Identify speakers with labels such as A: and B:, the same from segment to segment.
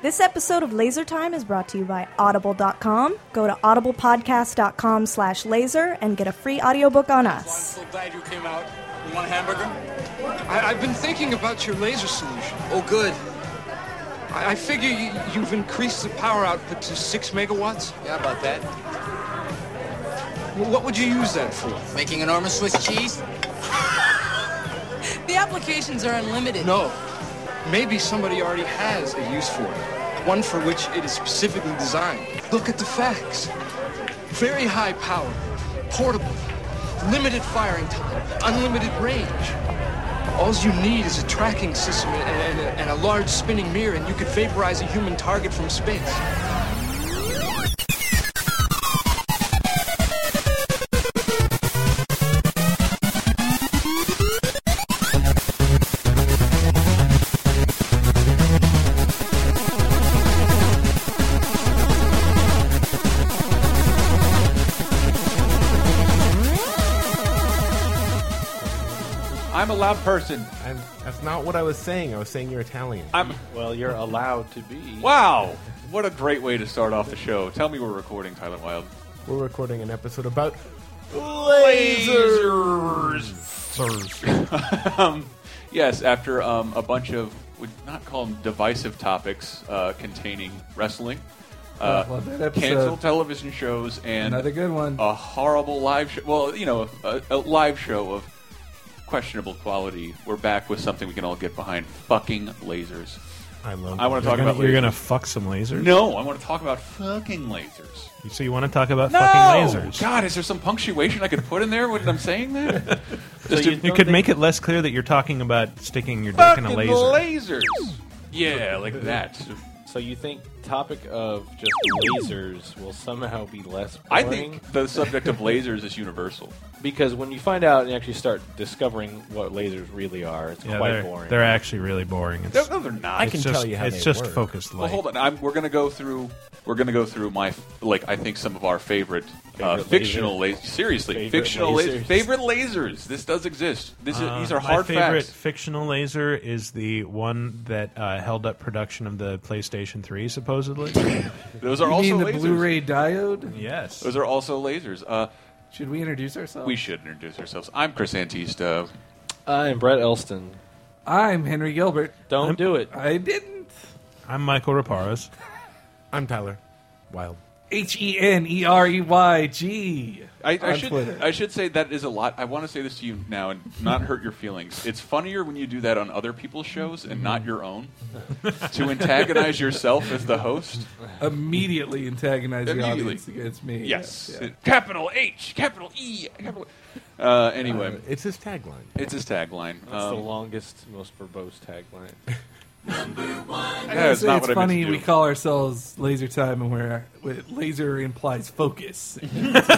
A: This episode of Laser Time is brought to you by Audible.com. Go to audiblepodcast.com slash laser and get a free audiobook on us.
B: so glad you came out. You want a hamburger?
C: I, I've been thinking about your laser solution.
B: Oh, good.
C: I, I figure you, you've increased the power output to six megawatts.
B: Yeah, about that.
C: Wh- What would you use that for?
B: Making an arm of Swiss cheese?
D: The applications are unlimited.
C: No. Maybe somebody already has a use for it, one for which it is specifically designed. Look at the facts. Very high power, portable, limited firing time, unlimited range. All you need is a tracking system and, and, a, and a large spinning mirror, and you could vaporize a human target from space.
E: I'm a loud person.
F: I'm, that's not what I was saying. I was saying you're Italian.
E: I'm
G: Well, you're allowed to be.
E: wow. What a great way to start off the show. Tell me we're recording, Tyler Wild.
F: We're recording an episode about
E: Um, Yes, after um, a bunch of would not call them divisive topics uh, containing wrestling, uh,
H: Well, that episode-
E: canceled television shows, and
H: Another good one.
E: A horrible live show. Well, you know, a, a live show of questionable quality. We're back with something we can all get behind. Fucking lasers.
F: I love.
E: I want to talk
G: You're gonna-
E: about.
G: you're
E: lasers.
G: gonna fuck some lasers.
E: No, I want to talk about fucking lasers.
G: So you want to talk about
E: No!
G: fucking lasers?
E: God, is there some punctuation I could put in there when I'm saying that?
G: So
E: Just
G: you,
E: to-
G: you could make it less clear that you're talking about sticking your dick in
E: fucking
G: a laser.
E: lasers. Yeah, like that.
I: So you think topic of just lasers will somehow be less
E: I
I: boring?
E: think the subject of lasers is universal.
I: because when you find out and actually start discovering what lasers really are, it's
G: Yeah,
I: quite
G: they're,
I: boring.
G: they're actually really boring. It's,
E: No, no, they're not.
F: I can
G: it's
F: tell
G: just,
F: you how
G: it's
F: they
G: just
F: work.
G: focused light.
E: Well, hold on. I'm, we're gonna go through. We're gonna go through my like. I think some of our favorite, uh,
I: Favorite
E: fictional lasers. Seriously,
I: Favorite
E: fictional lasers.
I: lasers.
E: favorite lasers. This does exist. This is,
G: Uh,
E: these are hard
G: My favorite
E: facts.
G: fictional laser is the one that uh, held up production of the PlayStation 3, supposedly.
E: Those are
H: You
E: also
H: mean the
E: lasers.
H: Blu-ray diode?
G: yes.
E: Those are also lasers. Uh,
H: Should we introduce ourselves?
E: we should introduce ourselves. I'm Chris Antista.
I: I'm Brett Elston.
H: I'm Henry Gilbert.
I: Don't
G: I'm-
I: do it.
H: I didn't.
G: I'm Michael Raparos.
F: I'm Tyler Wild.
H: H e n e r e y g.
E: I, I
H: on
E: should
H: Twitter.
E: I should say that is a lot. I want to say this to you now and not hurt your feelings. It's funnier when you do that on other people's shows and not your own. to antagonize yourself as the host.
H: Immediately antagonize the
E: Immediately.
H: audience against me.
E: Yes.
H: Yeah.
E: Capital H, capital E, capital. Uh, anyway,
F: It's his tagline.
E: it's his tagline.
I: That's the
E: Um,
I: longest, most verbose tagline.
H: I
E: yeah,
H: gotta
E: it's
H: say,
E: not
H: it's
E: what I meant
H: funny
E: to
H: we
E: do.
H: call ourselves Laser Time, and where laser implies focus.
E: all right,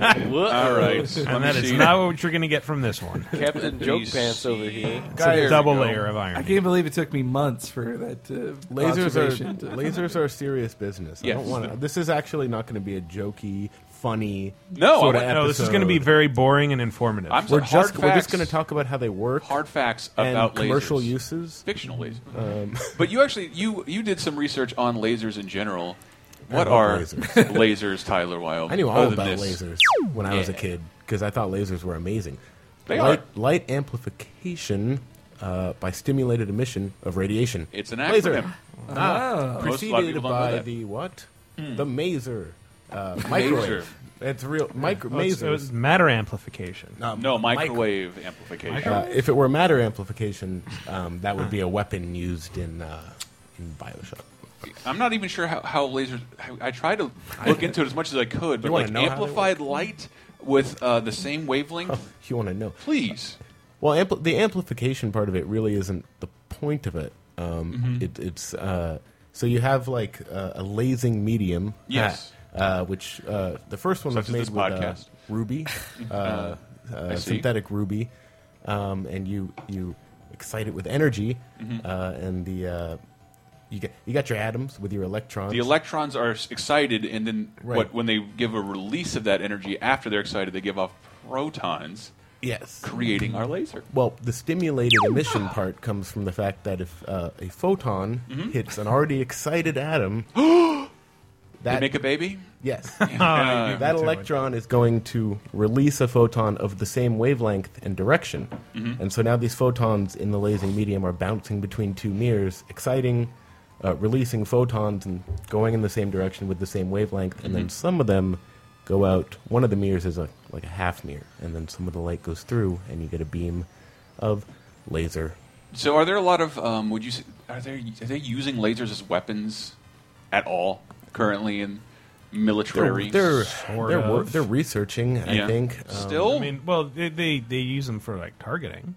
E: let
G: And
E: me
G: that is
E: see.
G: not what you're going to get from this one.
I: Captain
E: me
I: Joke Pants over here.
G: It's a
E: There we
G: double
E: go.
G: layer of
H: I
G: irony.
H: can't believe it took me months for that uh,
F: Lasers are
H: observation to-
F: lasers are serious business. I don't
E: Yes.
F: want to. This is actually not going to be a jokey, funny.
E: No,
F: sort
E: I
F: of
E: want-
G: No, this is
F: episode.
G: going to be very boring and informative.
E: I'm
F: We're
E: hard
F: just we're
E: facts-
F: just going to talk about how they work.
E: hard facts
F: and
E: about
F: commercial
E: lasers.
F: uses.
E: fictional lasers.
F: Um,
E: but you actually you you did some research on lasers in general. What
F: love
E: are
F: lasers.
E: lasers. Tyler Wilde?
F: I knew all
E: other
F: about
E: than this?
F: lasers when I was a
E: Yeah.
F: kid because I thought lasers were amazing.
E: They
F: light,
E: are.
F: light amplification uh, by stimulated emission of radiation.
E: It's an
F: Laser.
E: acronym.
H: Ah.
E: Most a lot of
F: preceded
E: people don't know
F: by
E: that. Hmm.
F: the what? The maser, uh, microwave. It's real micro
G: Well, Oh, it's- it was
F: masers.
G: matter amplification.
E: No microwave amplification.
F: Uh, if it were matter amplification, um, that would be a weapon used in uh, in Bioshock.
E: I'm not even sure how, how lasers. how- I tried to look into it as much as I could, but
F: You wanna
E: like
F: know how they
E: amplified light with uh, the same wavelength.
F: Oh, You want to know?
E: Please,
F: Well, ampl- the amplification part of it really isn't the point of it. Um,
E: Mm-hmm.
F: it it's uh, so you have like uh, a lasing medium.
E: Yes.
F: Uh, which uh, the first one
E: Such
F: was made
E: as this
F: with uh,
E: podcast.
F: ruby, uh, uh,
E: see.
F: synthetic ruby, um, and you you excite it with energy,
E: Mm-hmm.
F: uh, and the uh, you get you got your atoms with your electrons.
E: the electrons are s- excited, and then
F: Right.
E: what? When they give a release of that energy after they're excited, they give off protons.
F: Yes.
E: creating our laser.
F: Well, the stimulated emission part comes from the fact that if uh, a photon hits an already excited atom,
E: Mm-hmm. They
F: that
E: make a baby.
F: yes,
G: Ah, you-
F: that electron is going to release a photon of the same wavelength and direction. And so now these photons in the lasing medium are bouncing between two mirrors, exciting, uh, releasing photons and going in the same direction with the same wavelength. And then some of them go out. One of the mirrors is a, like a half mirror, and then some of the light goes through, and you get a beam of laser.
E: So, are there a lot of? Um, would you say, are they are they using lasers as weapons at all currently in military?
F: They're they're
G: Sort
F: they're, wor-
G: of.
F: they're researching.
E: Yeah.
F: I think um,
E: still.
G: I mean, well, they, they they use them for like targeting.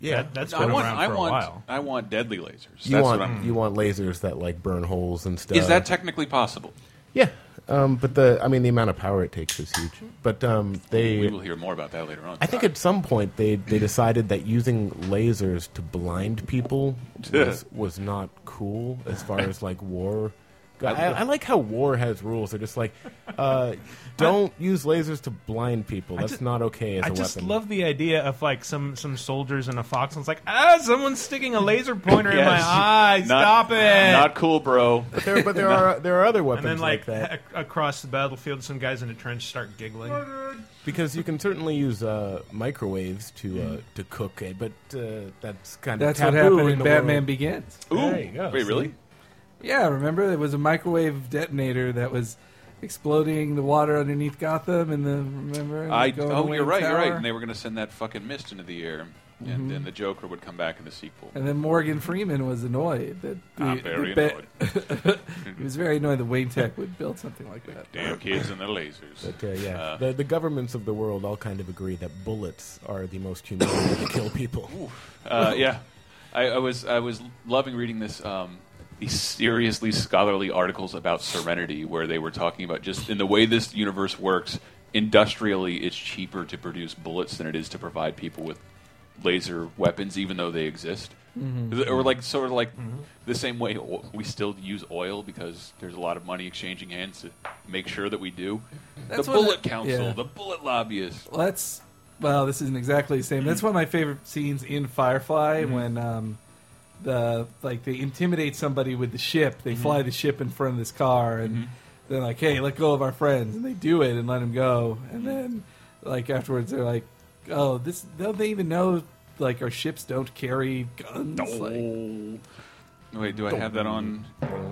F: yeah.
G: That, that's
E: I
G: been
E: want
G: around
E: I
G: for
E: want
G: a while.
E: I want deadly lasers.
F: you
E: That's
F: want uh,
E: what I'm.
F: you want lasers that like burn holes and stuff.
E: Is that technically possible?
F: Yeah, um, but the I mean the amount of power it takes is huge. But um,
E: We
F: they,
E: will hear more about that later on.
F: I think at some point they they decided that using lasers to blind people was, was not cool as far as like war. I, I like how war has rules. They're just like, uh, don't use lasers to blind people. That's
G: just-
F: not okay as
G: I
F: a
G: just
F: weapon.
G: love the idea of like some some soldiers in a fox and it's like ah someone's sticking a laser pointer in my
E: Yes.
G: eye
E: Not-
G: stop it
E: Not cool, bro.
F: but there, but there are there are other weapons
G: and then
F: like,
G: like,
F: that
G: a- across the battlefield some guys in a trench start giggling
F: because you can certainly use uh, microwaves to uh, to cook it, but uh, that's kind of
H: That's what
F: taboo
H: happened in,
F: the
H: Batman
F: world.
H: Begins.
E: Ooh,
F: There you go,
E: wait,
F: see?
E: really?
H: Yeah, remember it was a microwave detonator that was exploding the water underneath Gotham, and the remember. and
E: I
H: going
E: oh,
H: away
E: you're
H: in
E: right, you're right.
H: tower?
E: And they were going to send that fucking mist into the air, and
G: Mm-hmm.
E: then the Joker would come back in the sequel.
H: And then Morgan Freeman was annoyed that
I: Ah,
E: I'm
H: the-
E: very
H: the ba-
E: annoyed.
H: he was very annoyed that Wayne Tech would build something like that.
E: Damn kids and their lasers.
F: But uh, yeah,
E: Uh,
F: the, the governments of the world all kind of agree that bullets are the most humane way to kill people.
E: Uh, yeah, I, I was I was loving reading this um, these seriously scholarly articles about Serenity, where they were talking about just in the way this universe works. Industrially, it's cheaper to produce bullets than it is to provide people with laser weapons, even though they exist.
H: Mm-hmm.
E: Or like sort of like the same way o- we still use oil because there's a lot of money exchanging hands to make sure that we do.
H: That's
E: the
H: what
E: bullet
H: I-
E: council,
H: yeah.
E: the bullet lobbyists.
H: Well, that's well, this isn't exactly the same. That's one of my favorite scenes in Firefly
G: Mm-hmm.
H: when um, the like they intimidate somebody with the ship. They
G: Mm-hmm.
H: fly the ship in front of this car, and they're like, "Hey, let go of our friends," and they do it and let him go. And then like afterwards, they're like, "Oh, this don't they even know?" Like our ships don't carry guns. Like,
E: Wait, do I have that on?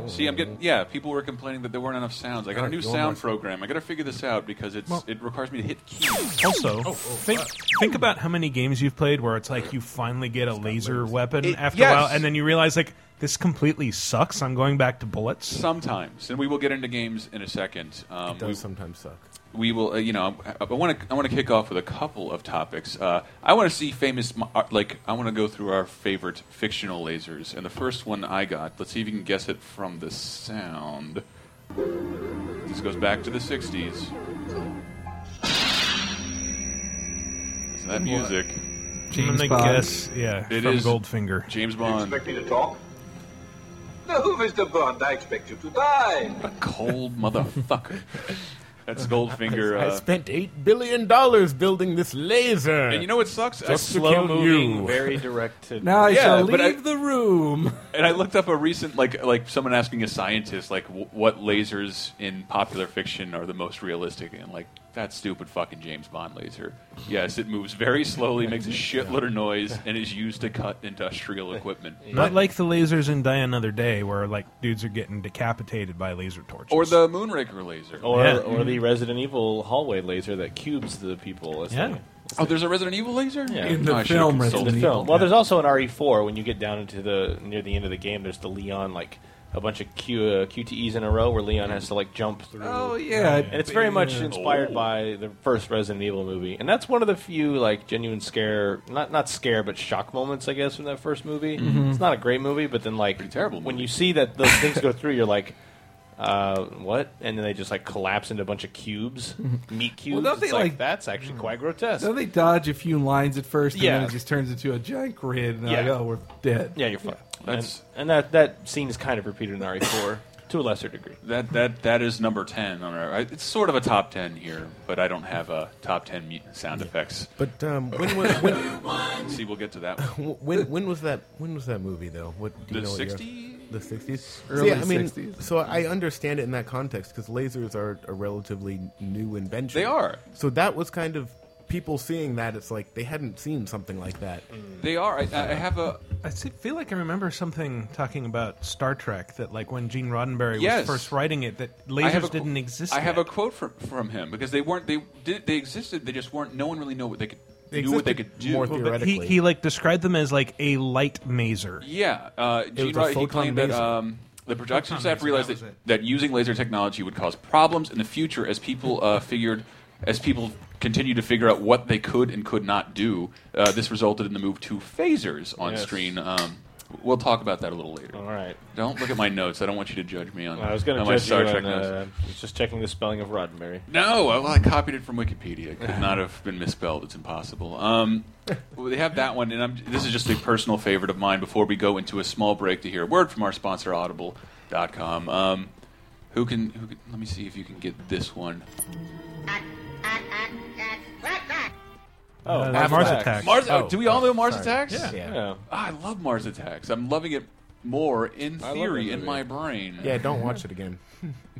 E: See, I'm getting. Yeah, people were complaining that there weren't enough sounds. I got a new sound program. I got to figure this out because it's it requires me to hit keys.
G: also think think about how many games you've played where it's like you finally get a laser weapon
E: It-
G: after
E: yes.
G: a while and then you realize like this completely sucks I'm going back to bullets
E: Sometimes, and we will get into games in a second. Um,
F: It does
E: we,
F: sometimes suck.
E: we will, uh, you know, I want to I want to kick off with a couple of topics. Uh, I want to see famous, mo- uh, like I want to go through our favorite fictional lasers, and the first one I got. Let's see if you can guess it from the sound. This goes back to the '60s. Is that music?
H: James
G: I'm gonna
H: Bond.
G: guess yeah
E: It
G: from
E: is-
G: Goldfinger
E: James Bond.
J: me to talk? No, Mr. Bond, I expect you to die.
E: A cold motherfucker. That's Goldfinger.
F: I
E: Uh,
F: spent eight billion dollars building this laser.
E: and you know what sucks? I
F: Just to
E: slow
F: kill
E: moving
F: you.
I: Very directed.
H: now I
E: Yeah,
H: shall leave
E: but I-
H: the room.
E: And I looked up a recent like like someone asking a scientist like w- what lasers in popular fiction are the most realistic and like that stupid fucking James Bond laser. Yes, it moves very slowly, makes a shitload of noise, and is used to cut industrial equipment.
G: not like the lasers in Die Another Day where like dudes are getting decapitated by laser torches
E: Or the Moonraker laser.
I: Or,
G: Yeah.
I: or the Resident Evil hallway laser that cubes the people. as
G: Yeah.
I: they-
E: oh, there's a Resident Evil laser Ah,
I: Yeah.
H: In the
E: I should've
H: film,
E: consulted.
I: the
H: Resident
I: film. Well, there's also an RE4 when you get down into the near the end of the game. There's the Leon like a bunch of Q, uh, QTEs in a row where Leon has to like jump through.
H: Oh yeah,
I: And it's very much
E: Oh.
I: inspired by the first Resident Evil movie, and that's one of the few like genuine scare, not not scare, but shock moments, I guess, from that first movie. It's not a great movie, but then like
E: Pretty terrible
I: when
E: movie.
I: you see that those things go through, you're like, uh, what? And then they just like collapse into a bunch of cubes, meat cubes.
H: don't they,
I: it's like,
H: like-
I: that's actually quite grotesque.
H: So they dodge a few lines at first, and
I: Yeah.
H: then it just turns into a giant grid, and they're
I: Yeah.
H: like, oh, we're dead.
I: yeah, you're fine.
E: That's-
I: and, and that that scene is kind of repeated in RE4. to a lesser degree.
E: That that that is number ten on our. I- It's sort of a top ten here, but I don't have a top ten mu- sound effects.
F: But um, when, was, when,
E: See, we'll get to that. One.
F: when when was that when was that movie though? What do you
E: The
F: know what year?
E: 60s?
F: The sixties,
H: Early
F: I mean,
H: 60s.
F: so I understand it in that context because lasers are a relatively new invention.
E: They are.
F: So that was kind of people seeing that. It's like they hadn't seen something like that.
E: They are. I, I have a.
G: I se- feel like I remember something talking about Star Trek that, like, when Gene Roddenberry
E: Yes.
G: was first writing it, that
E: I have
G: lasers
E: a qu-
G: didn't exist.
E: I have a
G: yet.
E: quote from from him because they weren't. They did. They existed. They just weren't. No one really knew what they could.
F: They
E: knew what they
F: existed
E: could do.
F: more
G: Well, but he,
F: theoretically.
G: he like described them as like a light maser.
E: Yeah, uh, Gene
F: was a
E: Rod- he
F: photon
E: claimed that
F: laser.
E: um, the production
G: Photon
E: staff
G: laser,
E: realized
G: that
E: that,
G: was
E: that,
G: it.
E: using laser technology would cause problems in the future as people uh, figured as people continued to figure out what they could and could not do. Uh, this resulted in the move to phasers on
I: Yes.
E: screen. Um, we'll talk about that a little later.
I: All right.
E: Don't look at my notes. I don't want you to judge me on.
I: I was going to
E: on my
I: judge
E: Star
I: you
E: Trek
I: on,
E: notes.
I: uh, just checking the spelling of Roddenberry.
E: No, well, I copied it from Wikipedia. It could not have been misspelled. It's impossible. Um, well, they have that one, and I'm, this is just a personal favorite of mine before we go into a small break to hear a word from our sponsor, audible.com. Um, who, can, who can, let me see if you can get this one.
I: Oh, Mars,
G: Uh, Mars
I: Attacks.
G: Attacks.
E: Mars,
F: Oh,
E: do we all know Mars
F: sorry.
E: Attacks?
F: Yeah.
I: Yeah.
E: Ah, I love Mars Attacks. I'm loving it more in
I: I love
E: theory
I: that
E: in
I: movie.
E: my brain.
F: Yeah, don't watch it again.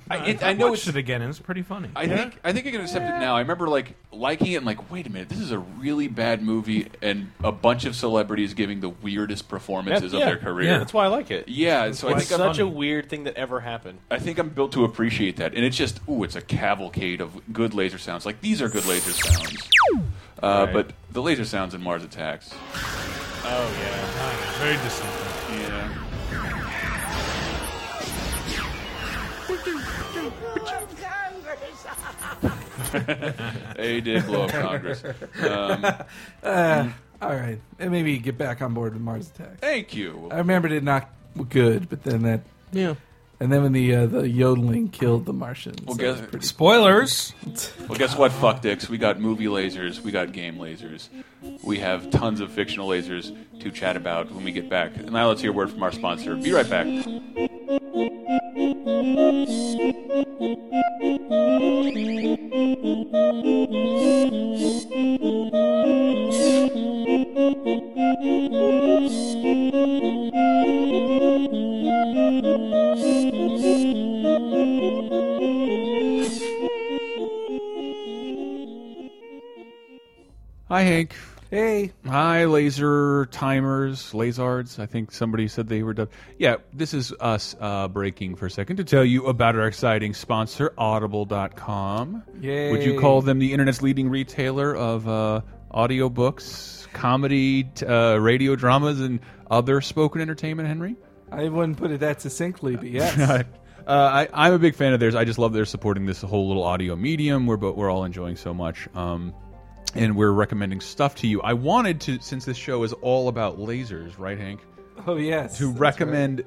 E: I, it, I know it's
G: watched it again. It's pretty funny.
E: I think I think I can accept it now. I remember like liking it and like, wait a minute, this is a really bad movie and a bunch of celebrities giving the weirdest performances of their career.
I: That's why I like it.
E: Yeah, so I
I: It's
E: think I'm,
I: such a weird thing that ever happened.
E: I think I'm built to appreciate that, and it's just ooh, it's a cavalcade of good laser sounds. Like these are good laser sounds, uh,
I: Right.
E: but the laser sounds in Mars Attacks.
I: Oh yeah.
G: Very distinctive.
E: Yeah. They did blow up Congress.
H: All right, and maybe get back on board with Mars Attacks.
E: Thank you.
H: I remembered it not good, but then that,
F: Yeah.
H: and then when the uh, the yodeling killed the Martians.
E: Well,
H: that
E: guess-
H: was pretty-
G: Spoilers.
E: Well, guess what, fuck dicks? We got movie lasers, we got game lasers, we have tons of fictional lasers to chat about when we get back. And now let's hear a word from our sponsor. Be right back.
K: Hi, Hank.
H: Hey,
K: Hi, laser timers, lasards. I think somebody said they were dubbed. Yeah, this is us uh, breaking for a second to tell you about our exciting sponsor, Audible.com.
H: Yay.
K: Would you call them the internet's leading retailer of uh, audiobooks, comedy, t- uh, radio dramas, and other spoken entertainment, Henry?
H: I wouldn't put it that succinctly, but yes,
K: Uh, I, I'm a big fan of theirs. I just love they're supporting this whole little audio medium. We're but we're all enjoying so much, um, and we're recommending stuff to you. I wanted to, since this show is all about lasers, right, Hank?
H: oh yes,
K: To
H: that's
K: recommend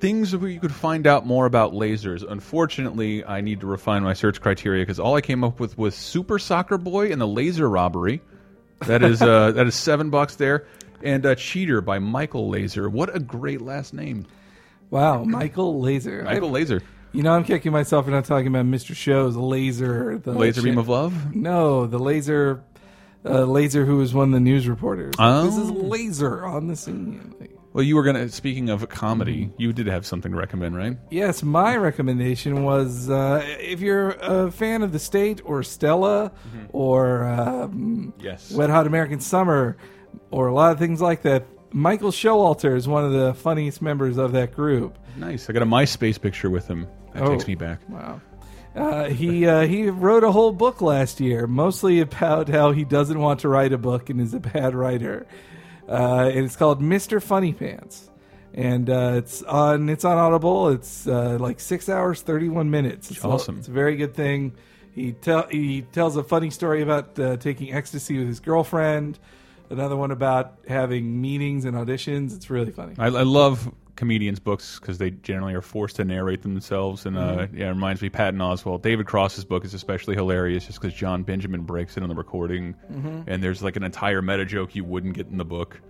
K: things where you could find out more about lasers. Unfortunately, I need to refine my search criteria because all I came up with was Super Soccer Boy and the Laser Robbery. That is uh, that is seven bucks there, and uh, Cheater by Michael Laser. What a great last name,
H: right. Wow, Michael Laser. I-
K: Michael Laser.
H: you know, I'm kicking myself for not talking about Mr. Show's laser. The
K: Laser beam of love.
H: No, the laser, uh, laser who was one of the news reporters.
K: Oh.
H: This is laser on the scene. Like,
K: Well, you were gonna. Speaking of comedy, you did have something to recommend, right?
H: Yes, my recommendation was uh, if you're a fan of The State or Stella or um,
K: Yes.
H: Wet Hot American Summer or a lot of things like that, Michael Showalter is one of the funniest members of that group.
K: Nice. I got a MySpace picture with him. That
H: Oh.
K: takes me back.
H: Wow. Uh, he uh, he wrote a whole book last year, mostly about how he doesn't want to write a book and is a bad writer. Uh, and it's called Mister Funny Pants, and uh, it's on it's on Audible. It's uh, like six hours thirty one minutes. It's a-
K: Awesome.
H: it's a very good thing. He tell he tells a funny story about uh, taking ecstasy with his girlfriend. Another one about having meetings and auditions. It's really funny.
K: I, I love comedians' books because they generally are forced to narrate them themselves, and uh,
H: Mm-hmm.
K: yeah, it reminds me of Patton Oswalt. David Cross's book is especially hilarious just because John
H: Mm-hmm.
K: Benjamin breaks it on the recording, and there's like an entire meta joke you wouldn't get in the book.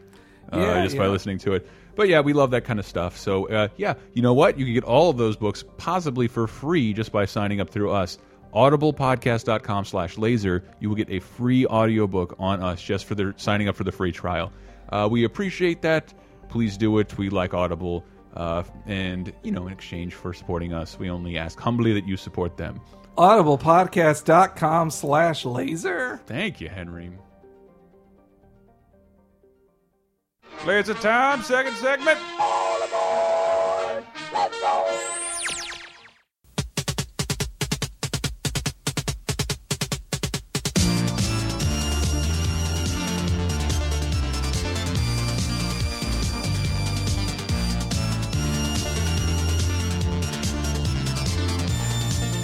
K: uh,
G: Yeah,
K: just by
G: yeah.
K: listening to it. But yeah, we love that kind of stuff. So uh, yeah, you know what? You can get all of those books possibly for free just by signing up through us. audiblepodcast.com slash laser you will get a free audiobook on us just for their signing up for the free trial uh, we appreciate that please do it we like audible uh, and you know in exchange for supporting us we only ask humbly that you support them
H: audiblepodcast.com slash laser
K: thank you henry Laser time, second segment.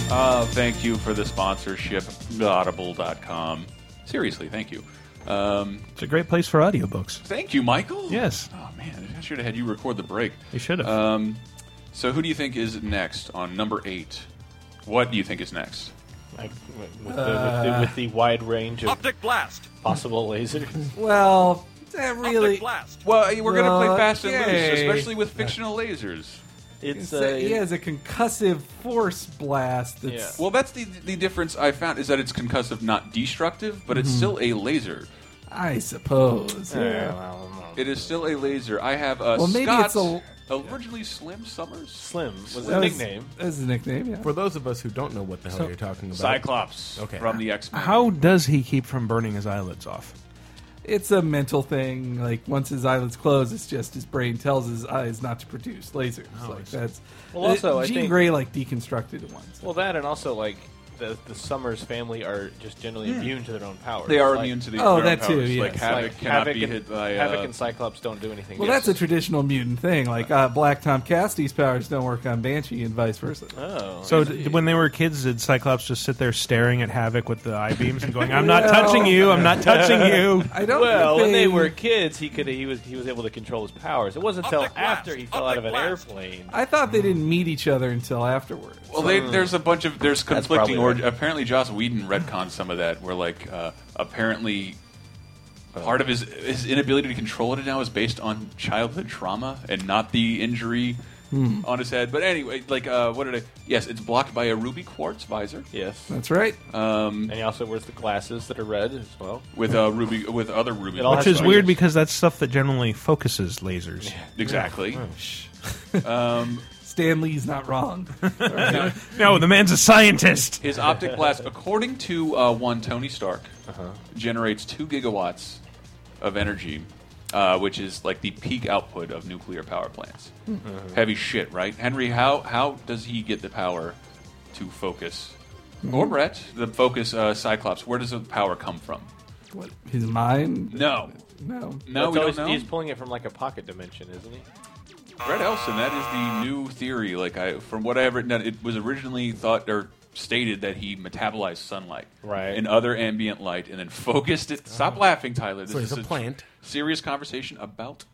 E: Uh, thank you for the sponsorship, audible.com. Seriously, thank you. Um,
G: It's a great place for audiobooks.
E: thank you, Michael.
G: Yes.
E: Oh, man. I should have had you record the break.
G: You should have.
E: Um, so, who do you think is next on number eight? What do you think is next?
I: Like, with, the, with, the, with the wide range of optic blast possible lasers.
H: Well, that really.
E: Well, we're going to play fast and
H: Okay.
E: loose, especially with fictional lasers.
I: It's
H: It's a- he has a concussive force blast. That's,
E: Well, that's the the difference I found is that it's concussive, not destructive, but it's
H: Mhm.
E: still a laser.
H: I suppose.
E: Yeah,
H: yeah.
E: It is still a laser. I have uh,
H: Well, maybe
E: Scott,
H: it's a-
E: originally Slim Summers.
I: Slim was
H: That was- That was the nickname. Yeah.
F: For those of us who don't know what the hell
G: So-
F: you're talking about,
E: Cyclops
F: Okay.
E: from the X Men.
G: How does he keep from burning his eyelids off?
H: It's a mental thing. Like once his eyelids close, it's just his brain tells his eyes not to produce lasers.
I: Oh, I
H: like
I: see.
H: that's.
I: Well, also,
H: uh,
I: I
H: Jean
I: think-
H: Grey like deconstructed it once.
I: Well, that and also like the the Summers family are just generally immune to their own powers.
E: They are
I: Like-
E: immune to the
H: Oh, that too,
E: powers.
H: yes.
E: Like
I: It's
E: Havoc
I: like
E: cannot
I: Havoc
E: be
I: and,
E: hit by.
I: Havoc
E: uh,
I: and Cyclops don't do anything.
H: Well, that's a traditional mutant thing. Like uh, Black Tom Cassidy's powers don't work on Banshee, and vice versa.
I: Oh,
G: So d- when they were kids, did Cyclops just sit there staring at Havoc with the eye beams and going, "I'm not
H: Well-
G: touching you. I'm not touching you."
H: I don't.
I: well,
H: think
I: when they
H: they-
I: were kids, he could he was he was able to control his powers. It wasn't until after he fell out of an airplane.
H: I thought they didn't meet each other until afterwards.
E: well, they, there's a bunch of there's
I: That's
E: conflicting. Or
I: probably
E: apparently, Joss Whedon retconned some of that. Where like uh, apparently. Part of his his inability to control it now is based on childhood trauma and not the injury
H: Hmm.
E: on his head. But anyway, like uh, what did I? Yes, it's blocked by a ruby quartz visor.
I: Yes,
H: That's right.
E: Um,
I: and he also wears the glasses that are red as well.
E: with uh, Ruby with other Ruby.
I: It all
E: Quartz
G: Which is
E: visors.
G: weird because that's stuff that generally focuses lasers.
E: Exactly. um,
H: Stan Lee's not wrong.
G: No, the man's a scientist.
E: his optic blast, according to uh, one Tony Stark, generates two gigawatts of energy, uh, which is like the peak output of nuclear power plants. Heavy shit, right, Henry? How how does he get the power to focus? Or Brett, the focus uh, Cyclops. Where does the power come from?
H: What, his mind?
E: No,
H: No.
E: no,
I: That's
E: we
I: always-
E: don't know.
I: He's pulling it from like a pocket dimension, isn't he?
E: Fred Elson, that is the new theory. Like I, from what I've written down, it was originally thought or stated that he metabolized sunlight
I: Right.
E: and other ambient light, and then focused it. Stop laughing, Tyler. This
F: So he's
E: is
F: a plant.
E: Serious conversation about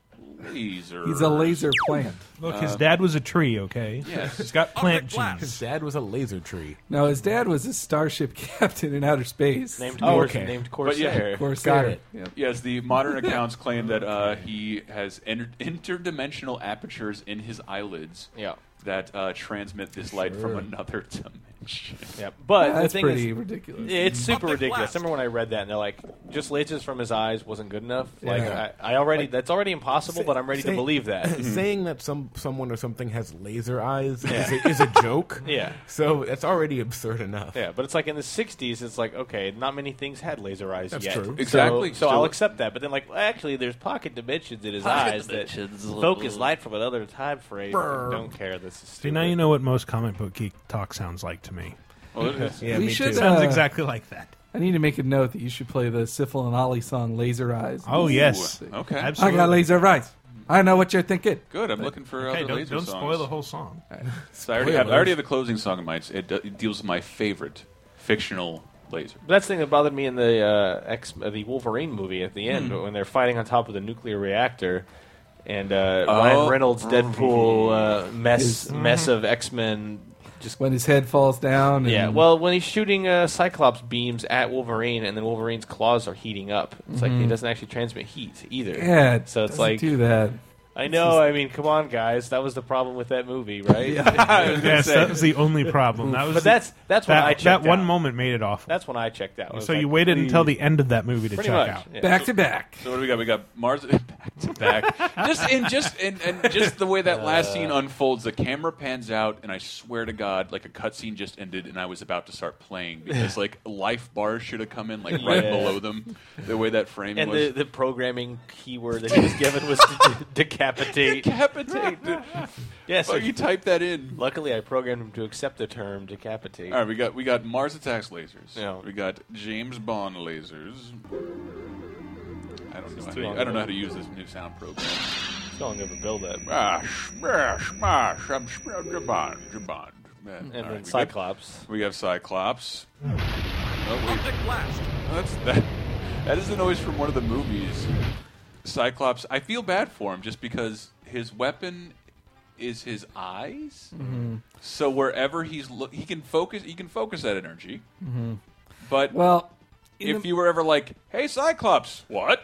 E: laser.
H: He's a laser plant.
G: Look,
I: Uh,
G: his dad was a tree. Okay,
E: Yes.
G: he's got plant
F: His
G: genes.
F: dad was a laser tree.
H: No, his dad was a starship captain in outer space.
I: Named
F: Oh,
I: Cors-
F: okay.
I: named
E: But yeah,
I: Corsair.
H: Corsair.
F: Got it.
H: Yep.
E: Yes, the modern accounts claim that uh, he has enter- interdimensional apertures in his eyelids
I: Yeah.
E: that uh, transmit this light from
F: Sure.
E: another dimension.
I: Yeah, but the
H: That's
I: thing
H: pretty
I: is,
H: ridiculous.
I: It's super ridiculous. I remember when I read that and they're like, just lasers from his eyes wasn't good enough. Like
F: Yeah.
I: I, I already, that's already impossible, but I'm ready to
F: Say-
I: believe that.
F: Saying that some someone or something has laser eyes is, a, is a joke.
I: Yeah.
F: So that's already absurd enough.
I: yeah, but it's like in the '60s, it's like okay, not many things had laser eyes
F: That's
I: yet.
F: true.
I: So-
E: Exactly.
I: So,
E: Still-
I: I'll accept that. But then, like, actually, there's pocket dimensions in his eyes that focus light from another time frame.
F: Brr.
I: Don't care. This is stupid.
G: See, now you know what most comic book geek talk sounds like to me.
E: Well, it's-
F: Yeah,
H: We
F: me
H: should,
F: too.
H: uh,
G: Sounds exactly like that.
H: I need to make a note that you should play the Syphil and Ollie song "Laser Eyes."
G: Oh yes,
E: okay.
H: I
G: absolutely.
H: got laser eyes. I know what you're thinking.
E: Good. I'm looking for
G: Hey,
E: other
G: don't,
E: laser
G: don't
E: songs.
G: spoil the whole song.
E: So I already, have,
F: Spoilers.
E: I already have the closing song in mind. It, it deals with my favorite fictional laser.
I: But That's the thing that bothered me in the uh, X, uh, the Wolverine movie at the
G: Hmm.
I: end when they're fighting on top of the nuclear reactor, and uh,
E: Oh.
G: Mm-hmm.
I: Ryan Reynolds' Deadpool uh, mess mess of X Men just
H: Mm-hmm. when his head falls down.
I: Yeah,
H: and-
I: well, when he's shooting uh, Cyclops beams at Wolverine, and then Wolverine's claws are heating up, it's like he
H: Mhm.
I: doesn't actually transmit heat either.
H: Yeah, it
I: so it's
H: doesn't
I: like
H: do that.
I: I know. I mean, come on, guys. That was the problem with that movie, right? I was gonna
G: yes,
I: say.
G: that was the only problem. That was
I: but
G: the-
I: that's that's when
G: that,
I: I
G: that
I: checked
G: one
I: out.
G: moment made it awful.
I: That's when I checked out. I was
G: So
I: like,
G: you waited until
I: please.
G: the end of that movie to
I: Pretty
G: check
I: much,
G: out.
I: yeah.
H: Back to back.
E: So what do we got? We got Mars back to back. just and just and, and just the way that last scene
I: Uh.
E: unfolds, the camera pans out, and I swear to God, like a cutscene just ended, and I was about to start playing because like life bars should have come in like right
I: Yeah.
E: below them. The way that frame
I: and
E: was.
I: the, the programming keyword that he was given was to de- decapitate.
E: Decapitate. dude.
I: Yes,
E: Fuck,
I: I-
E: you type that in.
I: Luckily, I programmed him to accept the term decapitate.
E: All right, we got we got Mars attacks lasers.
I: Yeah.
E: We got James Bond lasers. I don't know. How
I: too
E: to,
I: long
E: I don't know
I: ago.
E: how to use this new sound program.
I: Still I'll never build that.
E: Smash, smash, smash! I'm smash, Jabond, Jabond. Man,
I: And
E: all right,
I: then
E: we
I: Cyclops.
E: Got, we have Cyclops. Oh, wait. That's, that, that is the noise from one of the movies. Cyclops. I feel bad for him just because his weapon is his eyes.
H: Mm-hmm.
E: So wherever he's look, he can focus. He can focus that energy. But
H: Mm-hmm. Well, in
E: if
H: the-
E: you were ever like, "Hey, Cyclops, what?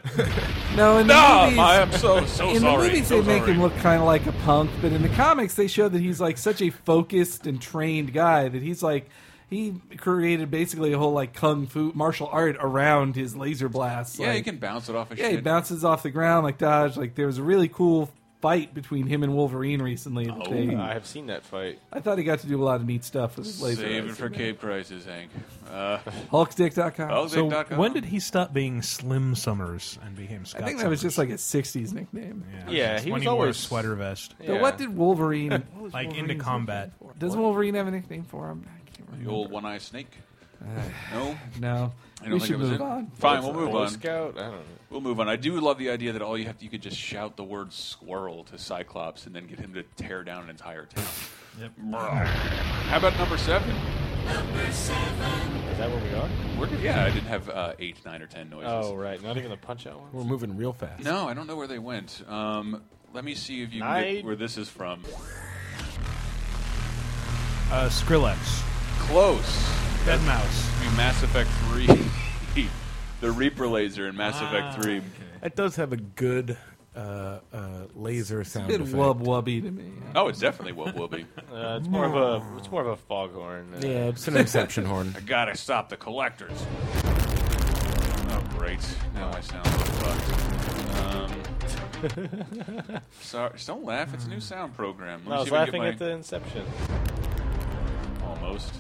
H: no, in the
I: Ah,
E: Nah,
H: movies,
E: I am so so
H: in
E: sorry."
H: the movies,
E: so
H: they make
E: sorry.
H: him look kind of like a punk, but in the comics, they show that he's like such a focused and trained guy that he's like he created basically a whole like kung fu martial art around his laser blasts.
E: yeah,
H: like,
E: he can bounce it off a
H: Yeah, he
E: shit.
H: bounces off the ground like dodge. Like there was a really cool fight between him and Wolverine recently. that they-
I: Oh, I have seen that fight.
H: I thought he got to do a lot of neat stuff with his laser.
E: Save it
H: eyes.
E: for Cape Crisis, Hank. Uh,
H: Hulkstick.com.
I: Oh,
G: So
E: Hulkstick.com.
G: when did he stop being Slim Summers and became Scott?
H: I think that was
G: Summers?
H: just like a '60s nickname.
I: Yeah,
G: it's
I: he
G: when
I: was
G: he wore a
I: always-
G: sweater vest,
H: But
I: Yeah.
H: what did Wolverine? what was
G: like into
H: Wolverine's
G: combat.
H: nickname for? Does Wolverine have a nickname for him? I can't
E: The
H: remember.
E: old one-eyed snake. no,
H: No,
E: I don't
H: we
E: think
H: should
E: it was
H: move
E: it.
H: on.
E: Fine, we'll move
I: Boy
E: on.
I: Scout. I don't know.
E: We'll move on. I do love the idea that all you have to, you could just shout the word squirrel to Cyclops and then get him to tear down an entire town. How about number seven?
I: Is that where we are?
E: Where did, yeah, I didn't have uh, eight, nine, or ten noises.
I: Oh, right. Not even the punch out one.
F: We're moving real fast.
E: No, I don't know where they went. Um, let me see if you can get
I: Nine.
E: where this is from.
G: Uh, Skrillex,
E: Close.
G: Dead Mouse.
E: I mean, Mass Effect 3. the Reaper laser in Mass
H: Ah,
E: Effect 3.
F: It does have a good uh, uh, laser
H: A
F: sound
H: bit
F: effect.
H: wub wubby to me.
E: Oh, it's definitely Wub Wubby.
I: Uh, it's more of a it's more of a foghorn. Uh,
F: Yeah, it's an inception horn.
E: I gotta stop the collectors. Oh, great. Now I sound fucked. Um, sorry, just don't laugh. It's a new sound program. Let
I: No, I
E: me
I: was
E: see if I
I: laughing
E: can get my...
I: at the Inception.
E: Almost.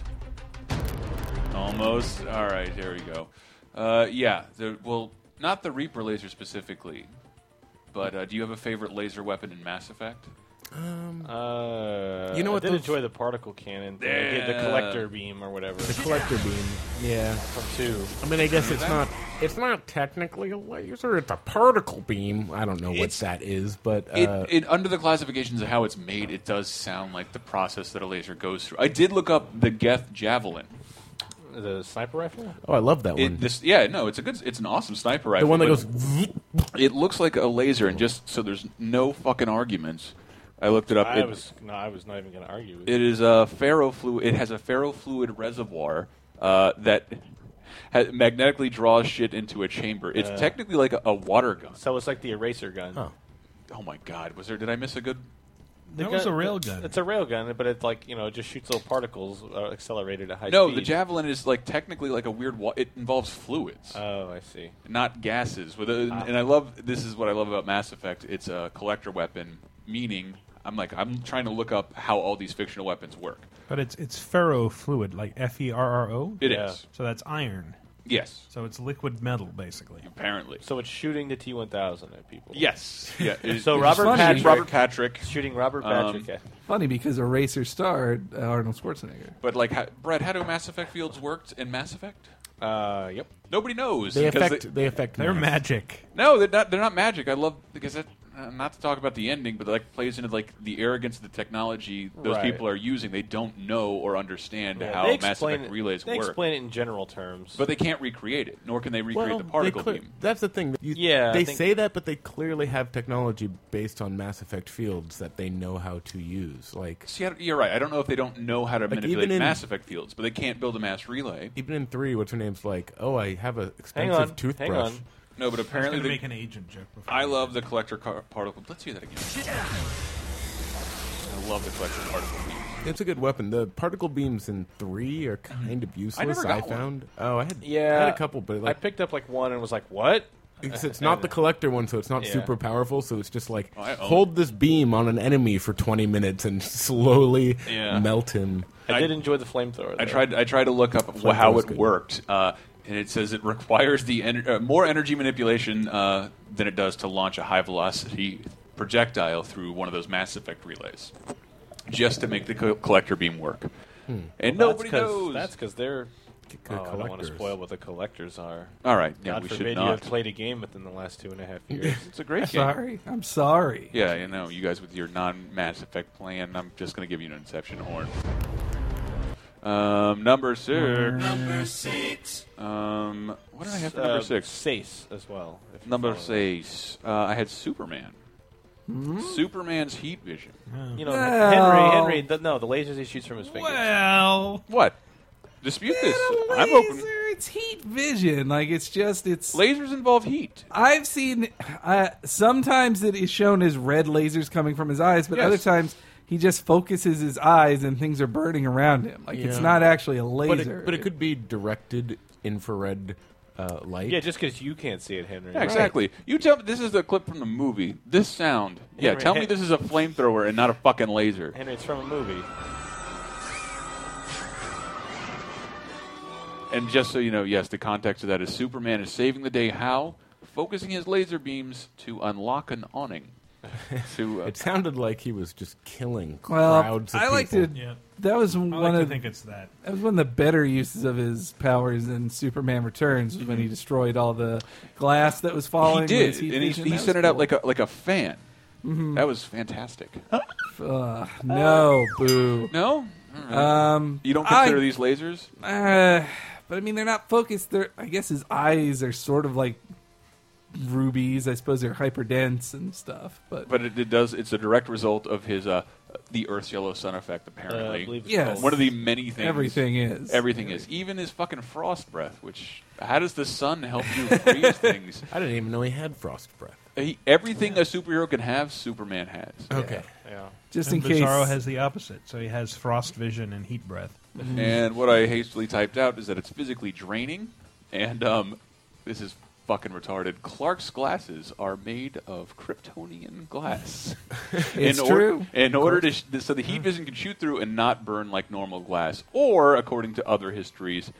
E: Almost. All right, here we go. Uh, yeah, the, well, not the Reaper laser specifically, but uh, do you have a favorite laser weapon in Mass Effect?
I: Uh,
F: You know
I: I
F: what
I: Did
F: those-
I: enjoy the particle cannon. Thing. They did
E: Yeah.
I: the collector beam or whatever
F: The collector beam. Yeah.
I: from two.
F: I mean, I guess it's not. It's not technically a laser. It's a particle beam. I don't know what
E: It's-
F: that is, but uh,
E: it, it under the classifications of how it's made, it does sound like the process that a laser goes through. I did look up the Geth javelin.
I: The sniper rifle.
F: oh, I love that one.
E: It, this, yeah, no, it's a good, it's an awesome sniper rifle.
F: the one that
E: but
F: goes. vroom.
E: it looks like a laser, and just so there's no fucking arguments, I looked it up.
I: I
E: It-
I: was no, I was not even going to argue. With
E: It is a ferrofluid. It has a ferrofluid reservoir uh, that ha magnetically draws shit into a chamber.
I: Uh.
E: It's technically like a, a water gun.
I: So it's like the eraser gun.
F: Oh.
E: Oh my god, was there? Did I miss a good?
G: That was a rail gun.
I: It's a rail gun, but it's like you know, it just shoots little particles uh, accelerated at high
E: No,
I: speed.
E: the javelin is like technically like a weird. Wa- it involves fluids,
I: Oh, I see.
E: not gases. With a,
I: Ah.
E: and I love this is what I love about Mass Effect. It's a collector weapon, meaning I'm like I'm trying to look up how all these fictional weapons work.
G: But it's it's ferrofluid, like F E R R O.
E: It is
I: Yeah.
G: So that's iron.
E: yes,
G: So it's liquid metal, basically.
E: apparently.
I: So it's shooting the T one thousand at people.
E: Yes. Yeah. it-
I: So
E: it's
I: Robert
E: funny.
I: Patrick-
E: Robert Patrick.
I: shooting Robert
E: Um,
I: Patrick. at
H: Funny because Eraser starred uh, Arnold Schwarzenegger.
E: But like, how, Brett, how do Mass Effect fields worked in Mass Effect?
I: Uh, yep.
E: Nobody knows.
F: They
E: because
F: affect. They, affect.
G: They're
F: mass.
G: magic.
E: no, they're not. They're not magic. I love because that. I uh, not to talk about the ending, but like plays into like the arrogance of the technology those
I: Right.
E: people are using. They don't know or understand
I: Yeah,
E: how
I: they
E: Mass
I: explain
E: Effect
I: it-
E: relays
I: they
E: work.
I: explain it in general terms.
E: but they can't recreate it, nor can they recreate the
F: they
E: particle
F: clear-
E: beam.
F: That's the thing. You-
I: Yeah, I
F: they
I: think-
F: say that, but they clearly have technology based on Mass Effect fields that they know how to use. Like
E: See, I don't- you're right. I don't know if they don't know how to
F: Like,
E: manipulate
F: even in-
E: Mass Effect fields, but they can't build a mass relay.
F: even in three, what's her name's like? Oh, I have an
I: Hang
F: expensive
I: on,
F: toothbrush.
I: hang on.
E: No, but
G: I was
E: apparently
G: gonna
E: they,
G: make an agent joke. Before.
E: I love the collector car- particle. Let's hear that again. I love the collector particle beam.
F: It's a good weapon. The particle beams in three
I: Mhm.
F: are kind of useless.
E: never got one.
F: found. Oh, I had
I: Yeah,
F: I had a couple, but like
I: I picked up like one and was like, "What?"
F: It's, it's not the collector one, so it's not
I: Yeah.
F: super powerful. So it's just like
E: Oh, I own
F: hold this beam on an enemy for twenty minutes and slowly
E: Yeah.
F: melt him.
I: I,
E: I-
I: did enjoy the flamethrower.
E: I
I: though.
E: tried. I tried to look up wh- how
F: was
E: it
F: good.
E: worked, uh, and it says it requires the en- uh, more energy manipulation uh, than it does to launch a high velocity projectile through one of those Mass Effect relays, just to make the co- collector beam work. And
I: Well,
E: nobody
I: that's 'cause-
E: knows.
I: That's because they're.
F: good
I: oh, I don't want to
F: collectors.
I: spoil what the collectors are.
E: All right, yeah,
I: God
E: we
I: forbid
E: should
I: you have
E: not.
I: played a game within the last two and a half years.
E: It's a great game.
H: Sorry, I'm sorry.
E: Yeah, you know, you guys with your non-Mass Effect plan, I'm just going to give you an Inception horn. Um, number six. Number six. Um, what did I have for number
I: Uh,
E: six?
I: Sace as well. if you
E: Number
I: follow
E: six, uh, I had Superman. Superman's heat vision.
I: that. You know,
H: Well.
I: Henry. Henry. The, no, the lasers he shoots from his fingers.
G: Well,
E: What? Dispute this.
H: Laser,
E: I'm open.
H: It's heat vision. Like it's just it's.
E: Lasers involve heat.
H: I've seen uh, sometimes it is shown as red lasers coming from his eyes, but
E: Yes.
H: other times he just focuses his eyes and things are burning around him. Like it's
F: Yeah.
H: not actually a laser,
F: But it, but it could be directed infrared uh, light.
I: Yeah, just because you can't see it, Henry.
E: Yeah, exactly. You tell me this is a clip from the movie. This sound. Yeah,
I: Henry-
E: tell me this is a flamethrower and not a fucking laser.
I: Henry, it's from a movie.
E: And just so you know, yes, the context of that is Superman is saving the day. How? Focusing his laser beams to unlock an awning. to, uh,
F: it sounded like he was just killing
H: Well,
F: crowds. Of
H: I like
F: people.
H: to.
G: Yeah.
H: That was
G: I
H: one
G: like to
H: of
G: think it's that.
H: that was one of the better uses of his powers in Superman Returns was when he destroyed all the glass that was falling.
E: he
H: with
E: did,
H: his heat
E: and he,
H: vision.
E: he
H: That
E: sent
H: was
E: it out
H: cool. Mm-hmm.
E: like a like a fan. That was fantastic.
H: Oh, no boo.
E: No, All right.
H: Um,
E: you don't
H: I-
E: consider these lasers.
H: Uh, but I mean, they're not focused. They're, I guess his eyes are sort of like rubies. I suppose they're hyper dense and stuff. But,
E: But it, it does. It's a direct result of his uh, the Earth's yellow sun effect.
I: Uh, I
E: Apparently,
I: believe it's
H: Yes.
I: called-
E: one of the many things.
H: everything is
E: Everything is. Even his fucking frost breath. Which how does the sun help you freeze things?
F: I didn't even know he had frost breath.
E: He, everything a superhero can have, Superman has.
F: Okay,
I: Yeah.
H: just in
G: and
H: case.
G: Bizarro has the opposite, so he has frost vision and heat breath.
E: And what I hastily typed out is that it's physically draining, and um, this is fucking retarded. Clark's glasses are made of Kryptonian glass.
H: It's
E: in
H: true. Hmm.
E: in order to sh- so the heat vision can shoot through and not burn like normal glass, or according to other histories,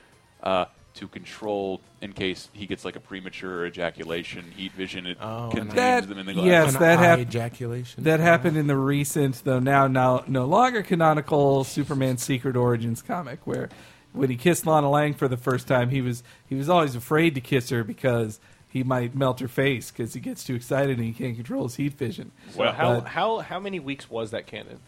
E: uh, to control in case he gets like a premature ejaculation, heat vision it
F: Oh,
E: contains
H: That-
E: them in the glass.
H: yes.
F: An
H: that
F: eye
H: hap-
F: ejaculation.
H: that happened in the recent, though now now no longer canonical Superman Secret Origins comic, where when he kissed Lana Lang for the first time, he was he was always afraid to kiss her because he might melt her face because he gets too excited and he can't control his heat vision.
E: Well,
I: How
H: But,
I: how how many weeks was that canon?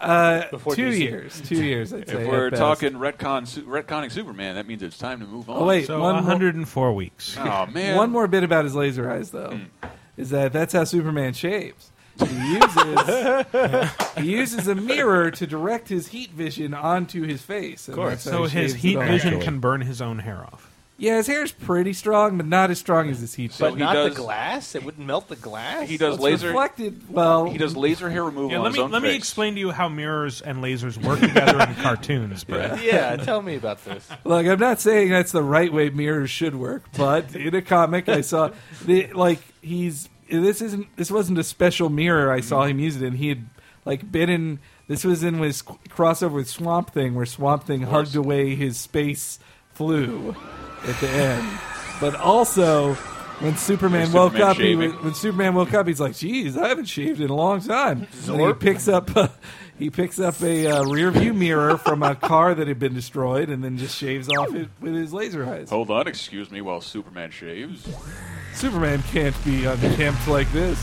H: uh,
I: before
H: two
I: DC?
H: years, two years. I'd say
E: if
H: at
E: we're
H: best.
E: talking retcon, su- retconning Superman, that means it's time to move on.
H: Oh, wait.
G: So
H: One more-
G: 104 weeks.
E: Oh, man. Hmm.
H: One more bit about his laser eyes, though, is that that's how Superman shaves. He uses he uses a mirror to direct his heat vision onto his face. Of
I: course.
G: So his heat vision can burn his own hair off.
H: Yeah, his hair's pretty strong, but not as strong as his heat.
E: So
H: vision.
E: he does-
I: glass. It wouldn't melt the glass.
E: He does
H: It's
E: laser.
H: reflected. Well,
E: He does laser hair removal
G: Yeah,
E: on
G: let
E: his
G: me
E: own
G: let me
E: face.
G: explain to you how mirrors and lasers work together in cartoons, Brett.
I: yeah, tell me about this.
H: Look, I'm not saying that's the right way mirrors should work, but in a comic I saw, the, like he's this isn't this wasn't a special mirror I saw him use it in. He had like been in this was in his crossover with Swamp Thing, where Swamp Thing hugged away his space flu at the end. But also, when Superman
E: Superman
H: woke up, he, wa-
E: shaving.
H: when Superman woke up, he's like, "Geez, I haven't shaved in a long time." And he
I: Zorp.
H: picks up uh, he picks up a uh, rear view mirror from a car that had been destroyed, and then just shaves off it with his laser eyes.
E: Hold on, excuse me, while Superman shaves.
H: Superman can't be unkempt like this.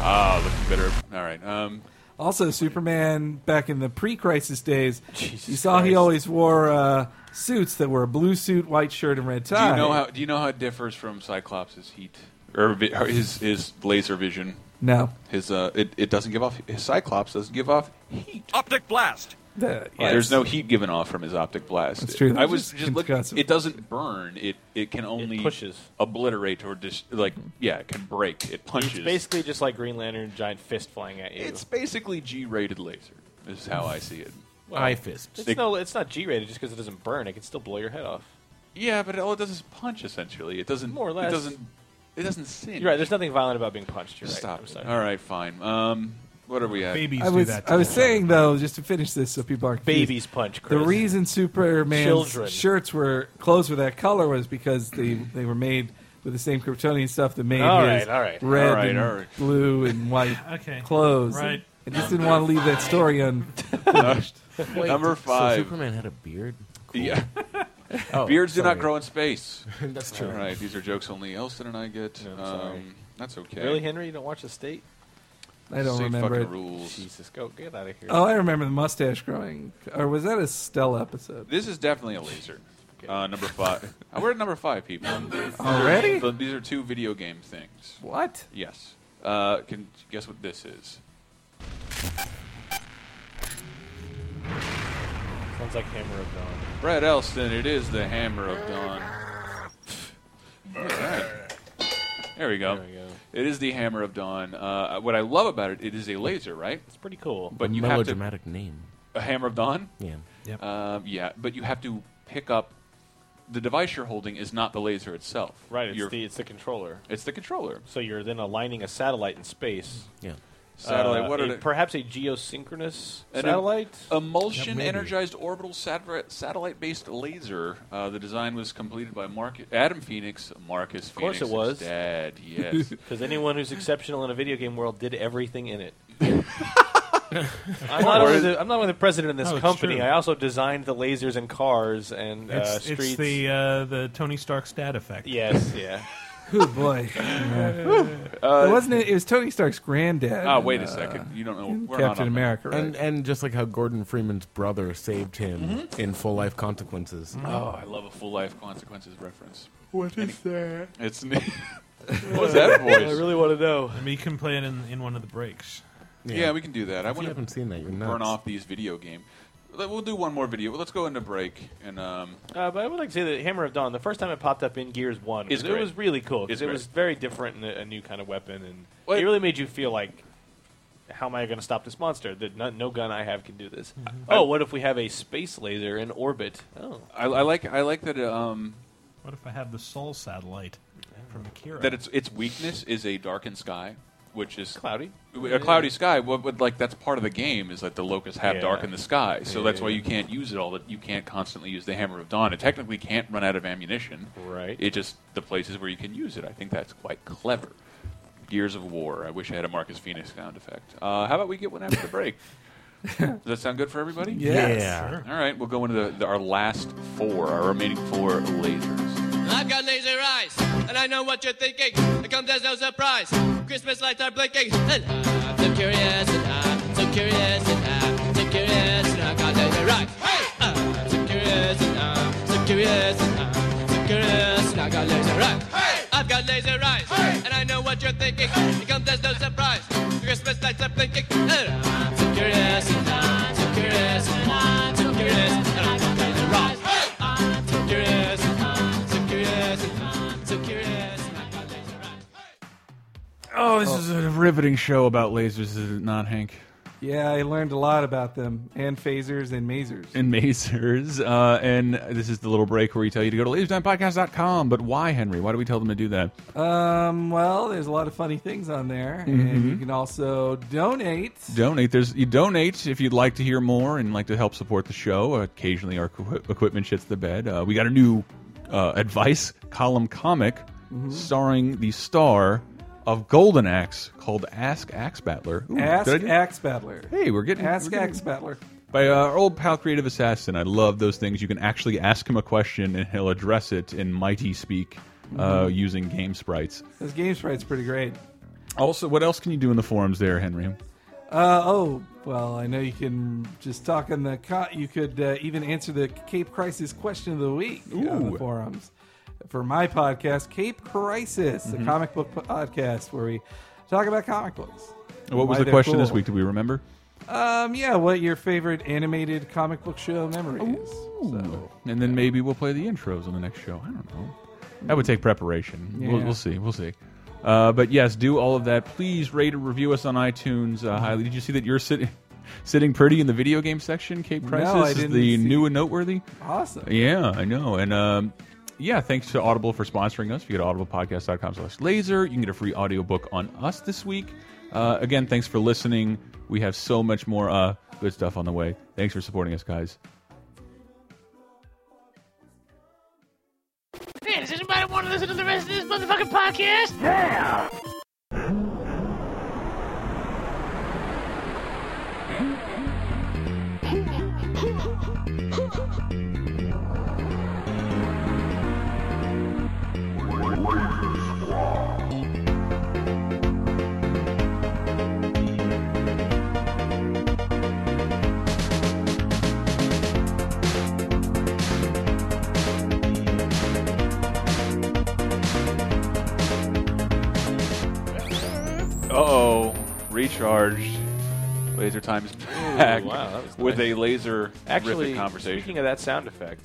E: ah, looking better. All right. Um,
H: Also, Superman back in the pre-crisis days, you saw he always wore uh, suits that were a blue suit, white shirt, and red
E: do
H: tie.
E: you know how? Do you know how it differs from Cyclops' heat or vi- or his his laser vision?
H: No.
E: His uh, it, it doesn't give off. His Cyclops doesn't give off heat.
L: Optic blast.
E: Yeah, There's no heat given off from his optic blast.
H: That's true.
E: I was just
H: That's
E: looking. It doesn't burn. It it can only
I: pushes.
E: obliterate, or dis- like yeah, it can break. It punches.
I: It's basically just like Green Lantern, giant fist flying at you.
E: It's basically G-rated laser. Is how I see it.
F: Eye fist.
I: It's
E: They-
I: no, it's not G-rated just because it doesn't burn. It can still blow your head off.
E: Yeah, but all it does is punch. Essentially, it doesn't.
I: More or less.
E: It doesn't. It doesn't sin.
I: You're right. There's nothing violent about being punched. You're
E: Stop.
I: Right. I'm
E: it.
I: sorry.
E: All right, fine. Um, what are we at?
H: I was, I was saying though, just to finish this, so people aren't confused,
I: Babies punch,
H: The
I: Chris.
H: reason Superman's
I: Children.
H: shirts were clothes were that color was because they they were made with the same Kryptonian stuff that made
I: All
H: his
I: right, all right.
H: red
I: All right,
H: and
I: all right.
H: blue and white
I: Okay.
H: clothes.
I: Right.
H: I just didn't want to leave that story unfinished.
F: Wait,
E: Uh, Number five.
F: So Superman had a beard. Cool.
E: Yeah.
F: Oh,
E: Beards do not
F: sorry.
E: grow in space.
F: That's true.
E: All right, these are jokes only Elston and I get. um, that's okay.
I: Really, Henry? You don't watch the state?
H: I don't
E: Same
H: remember
E: fucking
H: it.
E: rules.
I: Jesus, go get out of
E: Uh,
I: here.
H: Oh, I remember the mustache growing. Or was that a Stella episode?
E: This is definitely a laser. Uh, number five. Uh, We're at number five, people.
H: Already?
E: But these are two video game things.
H: What?
E: Yes. Uh, can guess what this is?
I: Sounds like Hammer of Dawn.
E: Brad Elston. It is the Hammer of Dawn. All right. There we go.
I: There we go.
E: It is the Hammer of Dawn. Uh, what I love about it, it is a laser, right?
I: It's pretty cool.
E: But
F: A
E: you have to
F: melodramatic name.
E: a Hammer of Dawn.
F: Yeah.
G: Yep.
E: Um, yeah, but you have to pick up the device you're holding is not the laser itself.
I: Right. It's
E: You're-
I: the it's the controller.
E: it's the controller.
I: So you're then aligning a satellite in space.
F: Yeah.
E: Satellite.
I: Uh,
E: what are
I: a-
E: they?
I: Perhaps a geosynchronous
E: An
I: satellite.
E: Emulsion
F: maybe.
E: energized orbital satellite based laser. Uh, the design was completed by Mark- Adam Phoenix, Marcus
I: course
E: Phoenix.
I: it was.
E: Dad, yes.
I: Because anyone who's exceptional in a video game world did everything in it. I'm, not
E: Or
I: only
E: is-
I: the, I'm not only the president of this
G: No, it's
I: company.
G: true.
I: I also designed the lasers and cars and
G: It's,
I: uh,
G: it's
I: streets.
G: the uh, the Tony Stark stat effect.
I: yes, yeah. Uh,
H: Oh boy, it wasn't. It, it was Tony Stark's granddad.
E: Ah,
I: Oh,
H: in,
E: wait a
H: uh,
E: second. You don't know.
H: in
E: We're not
H: Captain
E: on that.
H: America, right?
F: And and just like how Gordon Freeman's brother saved him
E: Mm-hmm.
F: in Full Life Consequences.
E: Oh, I love a full life consequences reference.
F: What is that?
E: It's ne- what was that voice?
I: I really want to know.
G: I mean, you can play it in, in one of the breaks.
E: yeah. we can do that. I
F: If you
E: want to
F: haven't seen that, you're nuts.
E: burn off these video game. Let- We'll do one more video. Let's go into break and um,
I: Uh, but I would like to say that Hammer of Dawn, the first time it popped up in Gears One,
E: It's
I: it
E: great.
I: was really cool
E: It's
I: because it
E: great.
I: was very different and a, a new kind of weapon, and
E: Well,
I: it
E: it-
I: really made you feel like, how am I going to stop this monster? That no, no gun I have can do this. Oh, what if we have a space laser in orbit? Oh,
E: I, I like I like that um,
G: What if I have the Soul satellite from Akira?
E: that its its weakness is a darkened sky, which is
I: cloudy.
E: a cloudy sky. What, what like that's part of the game is that the locusts have
I: Yeah.
E: darkened the sky, so
I: Yeah,
E: that's
I: yeah,
E: why
I: yeah.
E: you can't use it all. That you can't constantly use the hammer of dawn. It technically can't run out of ammunition.
I: Right.
E: It just the places where you can use it. I think that's quite clever. Gears of War. I wish I had a Marcus Phoenix sound effect. Uh, how about we get one after the break? Does that sound good for everybody?
H: Yes.
F: Yeah.
E: All right, we'll go into the, the, our last four, our remaining four lasers.
L: I've got laser eyes, and I know what you're thinking. It comes as no surprise. Christmas lights are blinking, and I'm so curious, and I'm so curious, and I'm so curious, and I've got laser eyes. Hey! I'm so curious, and I'm so curious, and I'm so curious, and I've got laser eyes. Hey! I've got laser eyes, and I know what you're thinking. It comes as no surprise. Christmas lights are blinking, and I'm so curious, and I'm so curious, and I'm so curious, and I've got laser eyes. Hey! I'm so curious, and I'm so curious, and I'm so curious, and I've got laser eyes.
K: Oh, this is a riveting show about lasers, is it not, Hank?
H: Yeah, I learned a lot about them and phasers and masers.
K: And masers. Uh, and this is the little break where we tell you to go to laserstimepodcast.com. But why, Henry? Why do we tell them to do that?
H: Um, well, there's a lot of funny things on there, and
K: Mm-hmm.
H: you can also donate.
K: Donate. There's you donate if you'd like to hear more and like to help support the show. Occasionally, our equi- equipment shits the bed. Uh, we got a new uh, advice column comic Mm-hmm. starring the star of Golden Axe called Ask Axe Battler. Ooh,
H: Ask
K: did I do-
H: Axe Battler.
K: Hey, we're getting
H: Ask
K: we're getting-
H: Axe Battler.
K: by uh, our old pal creative assassin i love those things you can actually ask him a question and he'll
H: Mm-hmm.
K: address it in mighty speak uh, using game sprites
H: This game sprite's pretty great.
K: Also, what else can you do in the forums there, Henry?
H: Uh, oh, well, I know you can just talk on the cot. You could uh, even answer the Cape Crisis question of the week on the forums for my podcast, Cape Crisis, a
K: Mhm.
H: comic book podcast where we talk about comic books.
K: What was
H: Why
K: the
H: they're
K: question this
H: cool.
K: week? Do we remember?
H: Um, yeah, what your favorite animated comic book show memory is?
K: and then maybe we'll play the intros on the next show. I don't know. That would take preparation. We'll,
H: Mm. Yeah.
K: we'll see. We'll see. Uh, but yes, do all of that. Please rate and review us on iTunes uh, highly. Did you see that you're sitting sitting pretty in the video game section? Cape
H: No,
K: Crisis
H: I
K: is
H: didn't
K: the
H: see-
K: new and noteworthy.
H: Awesome.
K: Yeah, I know. And um, yeah, thanks to Audible for sponsoring us. If you go to audiblepodcast.com slash laser, you can get a free audiobook on us this week. Uh, again, thanks for listening. We have so much more uh, good stuff on the way. Thanks for supporting us, guys.
M: Hey, does anybody want to listen to the rest of this motherfucking podcast? Yeah!
E: Uh oh, recharged. Laser time is back
I: wow, that was
E: with
I: nice.
E: a laser
I: Actually,
E: conversation.
I: speaking of that sound effect,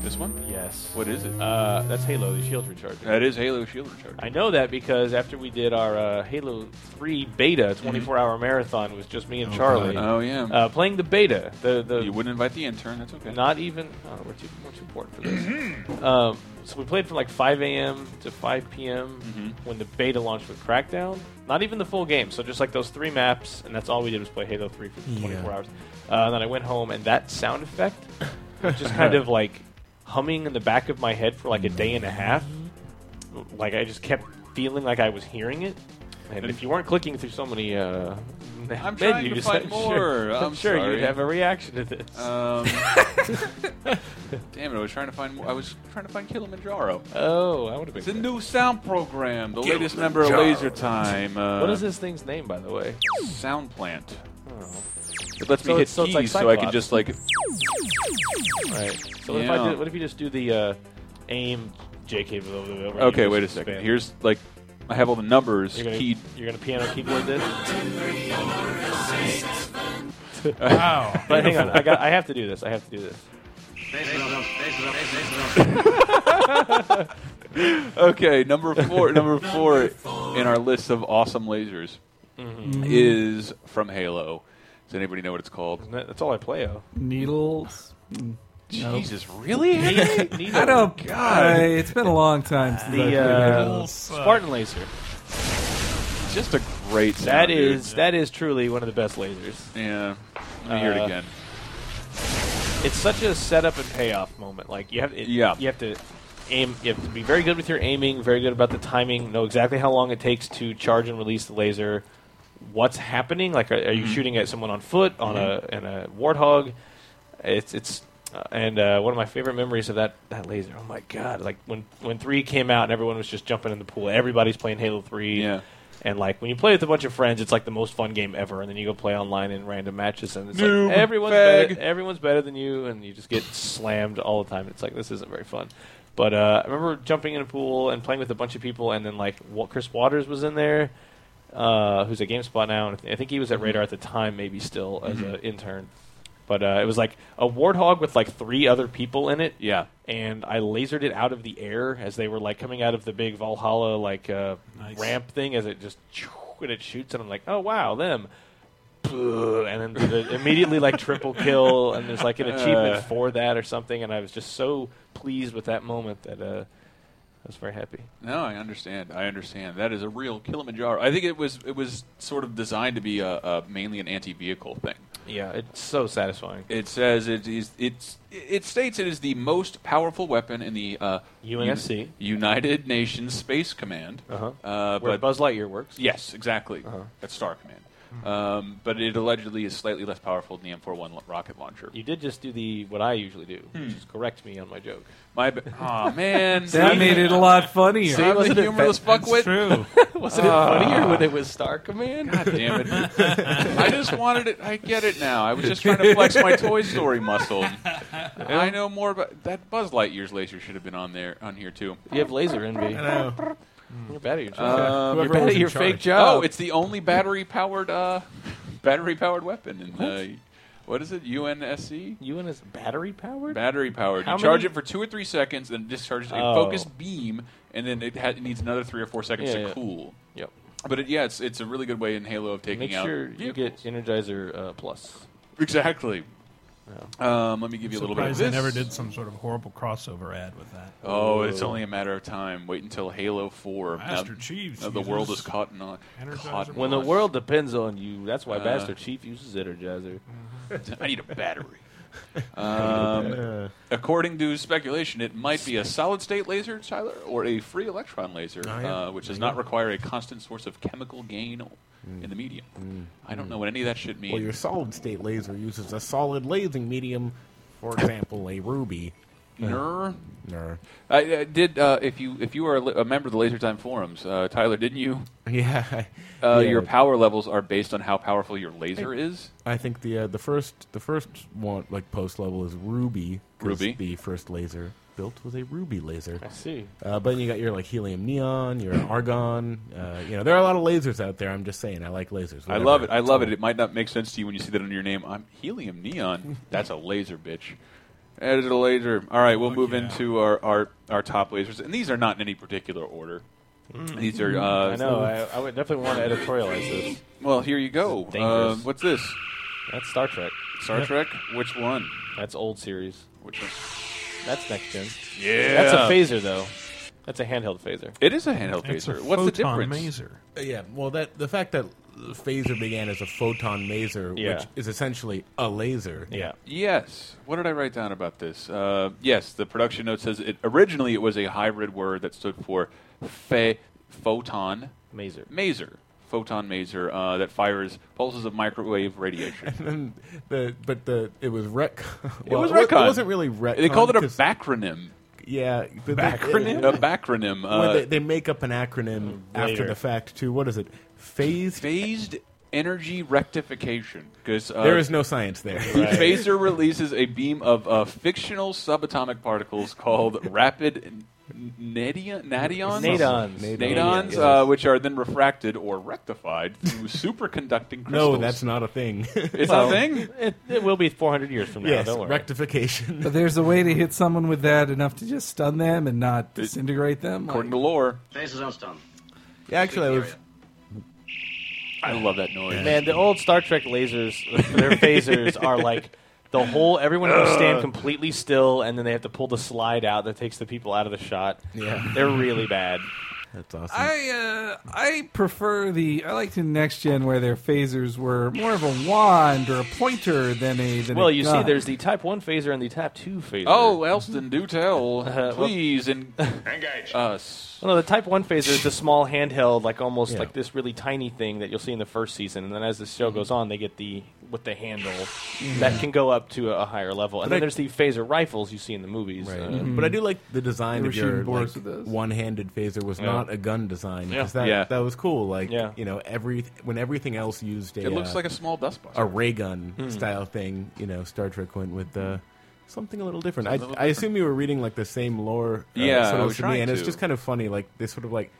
E: this one?
I: Yes.
E: What is it?
I: Uh, that's Halo, the Shield Recharger.
E: That is Halo Shield Recharger.
I: I know that because after we did our uh, Halo 3 beta 24 hour marathon with just me and
E: Oh,
I: Charlie.
E: God. Oh, yeah.
I: Uh, playing the beta. The, the
E: You wouldn't invite the intern. That's okay. Mm-hmm.
I: Not even. Oh, we're too we're too important for this. um, so we played from like 5 a.m. to 5 p.m.
E: Mm-hmm.
I: when the beta launched with Crackdown. Not even the full game. So just like those three maps, and that's all we did was play Halo 3 for
N: Yeah.
I: 24 hours. Uh, and then I went home, and that sound effect was just kind of like humming in the back of my head for like a day and a half. Like I just kept feeling like I was hearing it. And if you weren't clicking through so many uh,
E: I'm
I: menus,
E: trying to find
I: I'm
E: more.
I: Sure,
E: I'm,
I: sure
E: sorry.
I: you'd have a reaction to this.
E: Um, damn it! I was trying to find. more- I was trying to find Kilimanjaro.
I: Oh, I would have been.
E: It's a new sound program. The latest member of
I: Kilimanjaro.
E: Laser Time. Uh,
I: what is this thing's name, by the way?
E: Sound plant. It lets
I: So
E: me hit
I: it's- so it's
E: keys
I: like
E: so I can
I: Cyclops.
E: just like.
I: Right. So what if
E: Yeah.
I: I did, what if you just do the uh, aim JK? blah, blah, blah, blah,
E: Okay,
I: you
E: wait a
I: just
E: second.
I: spin.
E: Here's like, I have all the numbers
I: You're gonna,
E: keyed.
I: you're gonna piano keyboard this.
E: Wow.
I: but hang on, I got. I have to do this. I have to do this.
E: okay, number four. number four in our list of awesome lasers
I: Mhm.
E: is from Halo. Does anybody know what it's called?
I: That's all I play. Oh.
H: Needles. Mm, no.
E: Jesus, really? Henry?
H: I don't. God, it's been a long time since I've
I: The uh, Spartan laser.
E: Just a great. sound,
I: That
E: dude.
I: is that is truly one of the best lasers.
E: Yeah. Let me hear it
I: Uh,
E: again.
I: It's such a setup and payoff moment. Like you have, it,
E: Yeah.
I: you have to aim. You have to be very good with your aiming, very good about the timing, know exactly how long it takes to charge and release the laser. What's happening? Like, are, are you
E: Mhm.
I: shooting at someone on foot, on
E: Mm-hmm.
I: a and a warthog? It's it's. Uh, and uh, one of my favorite memories of that, that laser. Oh my god! Like when when three came out and everyone was just jumping in the pool. Everybody's playing Halo three.
E: Yeah.
I: And like when you play with a bunch of friends, it's like the most fun game ever. And then you go play online in random matches, and it's
E: Noob,
I: like everyone's
E: fag.
I: better, everyone's better than you, and you just get slammed all the time. It's like this isn't very fun. But uh, I remember jumping in a pool and playing with a bunch of people, and then like Wa- Chris Waters was in there, uh, who's at GameSpot now, and I th- I think he was
E: Mm-hmm.
I: at Radar at the time, maybe still as an intern. But uh, it was like a warthog with like three other people in it.
E: Yeah.
I: And I lasered it out of the air as they were like coming out of the big Valhalla like uh, ramp thing as it just and it shoots and I'm like, oh wow, them. And then the- immediately like triple kill and there's like an achievement
E: Uh.
I: for that or something and I was just so pleased with that moment that uh, I was very happy.
E: No, I understand. I understand. That is a real Kilimanjaro. I think it was it was sort of designed to be a, a mainly an anti-vehicle thing.
I: Yeah, it's so satisfying.
E: It says it is it's it states it is the most powerful weapon in the uh,
I: UNSC.
E: U- United Nations Space Command.
I: Uh-huh.
E: Uh,
I: Where
E: but
I: Buzz Lightyear works. Uh-huh.
E: Yes, exactly. That's Star Command.
I: Hmm.
E: Um, but it allegedly is slightly less powerful than the M41 l- rocket launcher. Hmm.
I: You did just do the what I usually do, which is correct me on my joke.
E: My b- Aw, man.
H: That
E: See?
H: made it a lot funnier.
I: See, wasn't
E: the
I: it
E: humorless
I: fa- That's
E: fuckwit.
I: true. Wasn't it funnier when it was Star Command?
E: God damn it! I just wanted it. I get it now. I was just trying to flex my Toy Story muscle. I know more about that. Buzz Lightyear's laser should have been on there, on here too.
I: You have laser envy. I know. You're bad at your job.
E: Um,
I: You're bad at your fake job.
E: Oh, it's the only battery powered uh, battery powered weapon in the what is it? UNSC?
I: UN is battery powered.
E: Battery powered.
I: How
E: you charge
I: many-
E: it for two or three seconds, then it discharges a
I: Oh.
E: focused beam, and then it, ha- it needs another three or four seconds
I: Yeah,
E: to
I: yeah.
E: cool.
I: Yep.
E: But it, yeah, it's it's a really good way in Halo of taking
I: Make
E: out.
I: sure you get Energizer uh, Plus.
E: Exactly. Um, let me give you a little bit of
G: Surprised
E: this.
G: They never did some sort of horrible crossover ad with that.
E: Oh, it's
G: Ooh.
E: only a matter of time. Wait until Halo Four.
G: Master
E: Now-
G: Chief
E: now the world
G: uses
E: is caught in on.
G: Energizer
E: Caught in
I: When the
E: on.
I: world depends on you, that's why
E: Uh,
I: Master Chief uses Energizer.
E: I need a battery. Um, according to speculation, it might be a solid state laser, Tyler, or a free electron laser,
F: Oh, yeah.
E: uh, which does
F: There you
E: not require a constant source of chemical gain o- in the medium.
I: Mm.
E: I don't know what any of that shit means.
F: Well, your solid state laser uses a solid lasing medium, for example, a ruby.
E: Ner?
F: Ner.
E: I, I did. Uh, if you if you are a, li- a member of the Laser Time forums, uh, Tyler, didn't you?
F: Yeah.
E: Uh,
F: Yeah.
E: Your power levels are based on how powerful your laser is.
F: I think the uh, the first the first one like post level is ruby. 'cause
E: Ruby.
F: The first laser built was a ruby laser. I
I: see.
F: Uh, but then you got your like helium neon, your argon. Uh, you know there are a lot of lasers out there. I'm just saying I like lasers.
E: I love it. I love it. It might not make sense to you when you see that under your name. I'm helium neon. That's a laser, bitch. That is a laser. All right, we'll move into our, our, our top lasers, and these are not in any particular order.
I: Mm.
E: These are. Uh,
I: I know. I, I would definitely want to editorialize this.
E: Well, here you go.
I: This is dangerous.
E: Uh, what's this?
I: That's Star Trek.
E: Star Trek. Which one?
I: That's old series.
E: Which one?
I: That's next gen.
E: Yeah.
I: That's a phaser though. That's a handheld phaser.
E: It is a handheld It's a phaser. What's the photon difference?
G: maser.
F: Uh, yeah. Well, that the fact that phaser began as a photon maser,
E: Yeah.
F: which is essentially a laser.
I: Yeah.
E: Yes. What did I write down about this? Uh, yes, the production note says it originally it was a hybrid word that stood for fe- photon
I: maser.
E: Maser. Photon maser uh, that fires pulses of microwave radiation.
F: And the but the it was rec.
E: It was
F: wa-
E: retcon.
F: It wasn't really retcon.
E: They called it a
F: 'cause-
E: backronym.
F: Yeah, but they-
E: Backronym?
F: it-
E: A backronym,
F: Well,
E: uh,
F: they, they make up an acronym after
E: later.
F: the fact too. What is it? Phased.
E: Phased energy rectification. Because uh,
F: There is no science there.
E: The phaser releases a beam of uh, fictional subatomic particles called rapid n- nadia- nadions,
I: Nadons.
E: nadons,
I: Nadons.
E: uh, which are then refracted or rectified through superconducting crystals.
F: No, that's not a thing.
E: It's
I: Well,
E: not a thing.
I: It, it will be 400 years from now.
F: Yes,
I: don't worry.
F: rectification.
H: But there's a way to hit someone with that enough to just stun them and not disintegrate them.
E: According to lore,
N: Faces don't stun.
F: Yeah, actually, I was.
E: I love that noise.
I: Man, the old Star Trek lasers, their phasers are like the whole. Everyone has to stand
E: Ugh.
I: completely still, and then they have to pull the slide out that takes the people out of the shot.
F: Yeah.
I: they're really bad.
F: That's awesome.
H: I uh, I prefer the I like the next gen where their phasers were more of a wand or a pointer than a. Than
I: well,
H: a
I: you see,
H: gun.
I: there's the Type One phaser and the Type Two phaser.
E: Oh, Elston, do tell,
I: well-
E: please, en- engage us.
I: Well, no, the Type One phaser is the small handheld, like almost like this really tiny thing that you'll see in the first season, and then as the show goes on, they get the with the handle that can go up to a, a higher level, and
F: But
I: then
F: I-
I: there's the phaser rifles you see in the movies.
F: Right.
I: uh,
F: But I do like the design of
I: They were shooting
F: your
I: boards
F: like,
I: with those.
F: one-handed phaser was
I: Yeah.
F: not a gun design because
I: Yeah.
F: that
I: Yeah.
F: that was cool. Like
I: Yeah.
F: you know, every when everything else used a
E: It looks
F: uh,
E: like a small dustbuster.
F: a ray gun
E: Hmm.
F: style thing. You know, Star Trek went with uh, something a little different. I,
E: Something a little
F: I assume you were reading like the same lore. Uh,
E: Yeah, I
F: sort of
E: was
F: to me,
E: trying
F: and it's
E: to.
F: just kind of funny. Like they sort of like.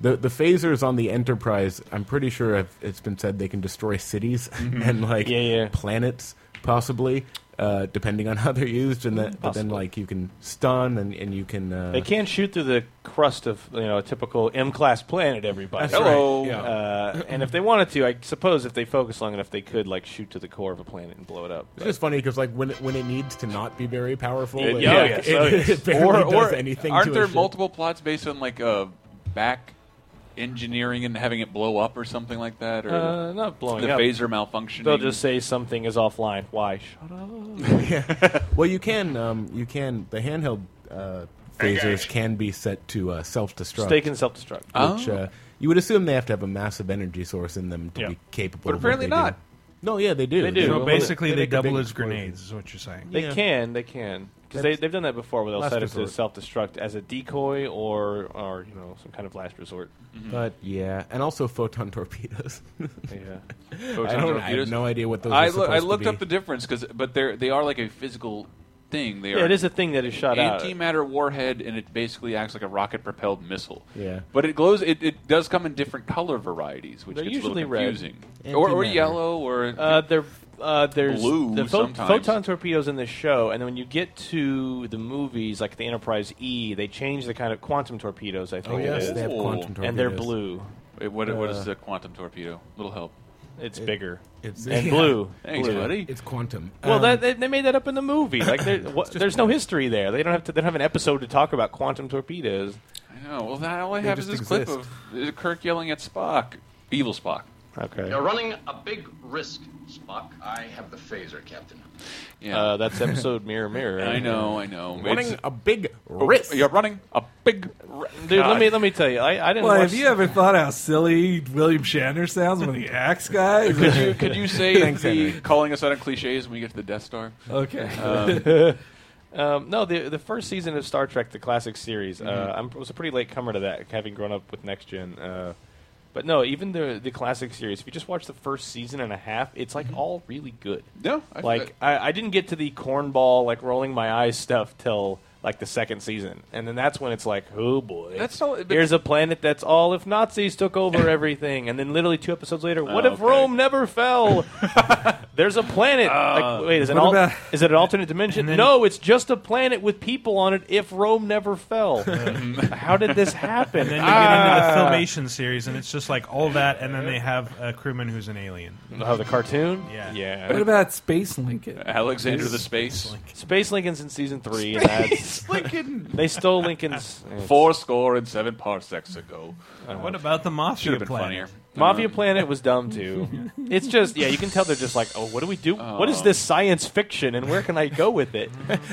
F: The, the phasers on the Enterprise, I'm pretty sure I've, it's been said they can destroy cities
E: Mm-hmm.
I: Mhm.
F: and like
I: Yeah, yeah.
F: planets, possibly, uh, depending on how they're used. And that, but then
I: Possibly.
F: like you can stun and, and you can uh,
I: They can shoot through the crust of you know a typical M class planet. Everybody,
F: That's Hello. right, yeah.
I: Uh, and if they wanted to, I suppose if they focus long enough, they could like shoot to the core of a planet and blow it up.
F: It's just funny because like when it, when it needs to not be very powerful,
I: Yeah,
F: it,
I: yeah,
F: like,
I: yes,
F: it-
I: oh, yes.
F: it barely
E: or,
F: does
E: or
F: anything.
E: aren't
F: to a
E: there
F: ship.
E: multiple plots based on like uh, back engineering and having it blow up or something like that, or
I: Uh, not blowing
E: the
I: up.
E: phaser malfunctioning?
I: They'll just say something is offline. Why? Shut up.
F: Well, you can um, you can the handheld uh, phasers can be set to uh, self destruct.
I: Stake and self-destruct.
F: Which,
I: Oh.
F: uh, You would assume they have to have a massive energy source in them to be capable.
K: But
F: of what
K: apparently
F: they do.
K: not.
F: No, yeah, they do.
K: They do.
G: So
F: Well,
G: basically, they,
F: make a
G: double
F: big
G: as
F: explosion.
G: grenades, is what you're saying.
I: They can, they can, because they
F: That's-
I: they've done that before, where they'll
F: Last
I: set it to
F: resort.
I: self-destruct as a decoy or or you know some kind of last resort.
F: But yeah, and also photon torpedoes.
I: Yeah.
F: I,
E: Photon
F: don't, I
E: torpedoes.
F: have no idea what those.
E: I,
F: are
E: loo- I
F: supposed to
E: looked
F: be.
E: up the difference because, but they're they are like a physical thing. They
I: Yeah,
E: are
I: it is a thing that is shot out.
E: antimatter warhead, and it basically acts like a rocket-propelled missile.
I: Yeah.
E: but it glows. It, it does come in different color varieties, which
I: They're
E: gets
I: usually
E: a little
I: red.
E: confusing. Or, or yellow, or
I: uh, they're uh, there's
E: Blue
I: the pho-
E: sometimes.
I: photon torpedoes in the show, and then when you get to the movies like the Enterprise E, they change the kind of quantum torpedoes. I think
E: Oh,
I: it
E: yes,
I: is.
E: they have quantum
I: and they're
E: torpedoes.
I: blue.
E: Wait, what, what
F: uh,
E: is a quantum torpedo? Little help.
I: It's
F: It-
I: bigger.
F: it's-
I: and
F: yeah.
I: blue.
E: Thanks,
I: Blue.
E: buddy.
F: It's quantum.
I: Well,
F: Um,
I: that, they, they made that up in the movie. Like, there- what, there's no history there. They don't have to. They don't have an episode to talk about quantum torpedoes.
E: I know. Well, that all I
I: They
E: have is this
I: just
E: clip
I: exist.
E: of uh, Kirk yelling at Spock, evil Spock.
I: Okay.
N: You're running a big risk, Spock. I have the phaser, Captain.
E: Yeah.
I: Uh, that's episode Mirror Mirror.
E: I know, I know.
F: Running a big
E: Oh,
F: risk.
E: You're running a big. ri-
I: Dude,
E: God.
I: let me let me tell you. I, I didn't.
H: Well,
I: watch
H: have you ever thought how silly William Shatner sounds when he acts, guys?
E: Could you could you say
H: Thanks,
E: the
H: Henry.
E: calling us out on cliches when we get to the Death Star?
H: Okay.
E: Um,
I: Um, no, the the first season of Star Trek, the classic series. Uh, I'm was a pretty late comer to that, having grown up with Next Gen. Uh, but no, even the the classic series. If you just watch the first season and a half, it's like all really good.
E: No, I-
I: like I, I didn't get to the cornball like rolling my eyes stuff till like the second season, and then that's when it's like, oh boy,
E: That's all- but-
I: here's a planet that's all if Nazis took over everything, and then literally two episodes later, what
E: Oh,
I: if
E: okay.
I: Rome never fell? There's a planet. like, wait, is it
H: What
I: all?
H: about-
I: Is it an alternate dimension? no, it's just a planet with people on it if Rome never fell.
H: Mm-hmm.
I: How did this happen?
G: And then you
I: Ah.
G: get into the filmation series, and it's just like all that, and then they have a crewman who's an alien.
I: Oh, the cartoon?
G: Yeah.
I: Yeah.
H: What about Space Lincoln?
E: Alexander the Space.
I: Space Lincoln's in season three? and that's-
E: Lincoln.
I: they stole Lincoln's.
E: Four score and seven parsecs ago.
G: What about the Mafia
E: Should have been
G: planet?
E: funnier.
I: Mafia Planet was dumb too. it's just yeah, you can tell they're just like, oh, what do we do? What is this science fiction, and where can I go with it?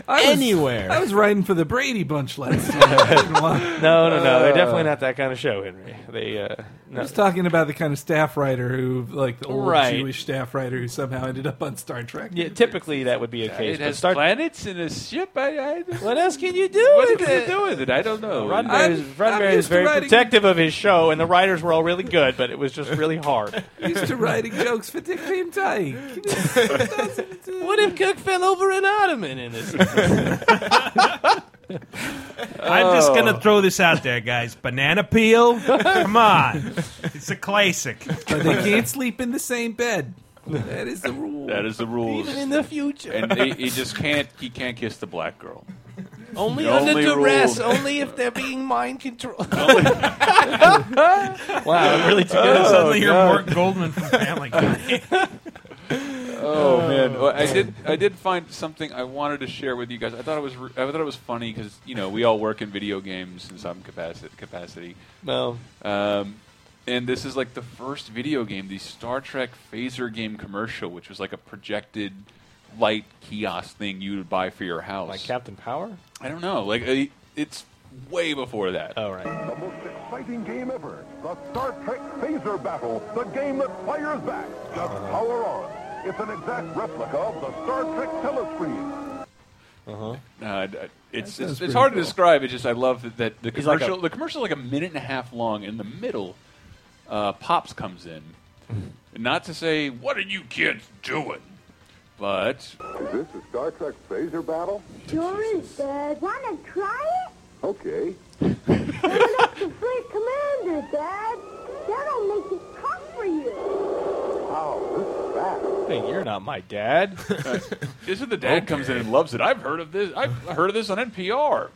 H: I was-
I: Anywhere.
H: I was riding for the Brady Bunch last year. I didn't want-
I: Oh, No, no, no. They're definitely not
G: Uh.
I: that kind of show, Henry. They uh,
H: I
I: no.
H: was talking about the kind of staff writer who, like the old
I: Right.
H: Jewish staff writer who somehow ended up on Star Trek.
I: Yeah, typically that would be a case.
E: It
I: But
E: has
I: Star
E: planets in a ship. I, I,
I: what else can you do?
E: what
I: with
E: can you
I: it?
E: do with it? I don't know.
I: Roddenberry is, Roddenberry is
H: used to
I: very
H: writing-
I: protective of his show, and the writers were all really good, but it was just really hard.
H: Used to writing jokes for Dick Van Dyke.
I: what if Cook fell over an ottoman in this?
G: I'm just
I: Oh.
G: gonna throw this out there, guys. Banana peel. Come on, it's a classic.
H: But they can't sleep in the same bed. That is the rule.
E: That is the rules.
I: Even in the future.
E: and he, he just can't. He can't kiss the black girl.
I: only
E: The
I: under
E: only
I: duress,
E: rule.
I: only if they're being mind controlled. wow, it really took it.
G: And Oh, suddenly, you're
E: God.
G: Mark Goldman from Family Guy.
E: Oh, man, Well, I did. I did find something I wanted to share with you guys. I thought it was. re- I thought it was funny because you know we all work in video games in some capacity. Capacity.
I: Well.
E: Um, and this is like the first video game, the Star Trek phaser game commercial, which was like a projected light kiosk thing you would buy for your house.
I: Like Captain Power?
E: I don't know. Like I- it's way before that.
I: All right.
O: The most exciting game ever. The Star Trek Phaser Battle. The game that fires back. Just power on. It's an exact replica of the Star Trek telescreen.
I: Uh-huh.
E: No, it- it- Uh, it's
O: sounds
E: it's,
O: pretty
E: it's hard
O: cool.
E: to describe. It's just I love that, that the
I: He's like
E: commercial.
I: a-
E: the commercial like a minute and a half long. In the middle, uh, pops comes in,
F: Hmm.
E: not to say what are you kids doing, but
O: Is this the Star Trek Phaser Battle?
P: Sure is, Dad. Wanna try it?
O: Okay.
P: The first commander, Dad. That'll make it tough for you.
I: Hey, you're not my dad.
E: this is the dad comes in and loves it. I've heard of this. I've heard of this on NPR.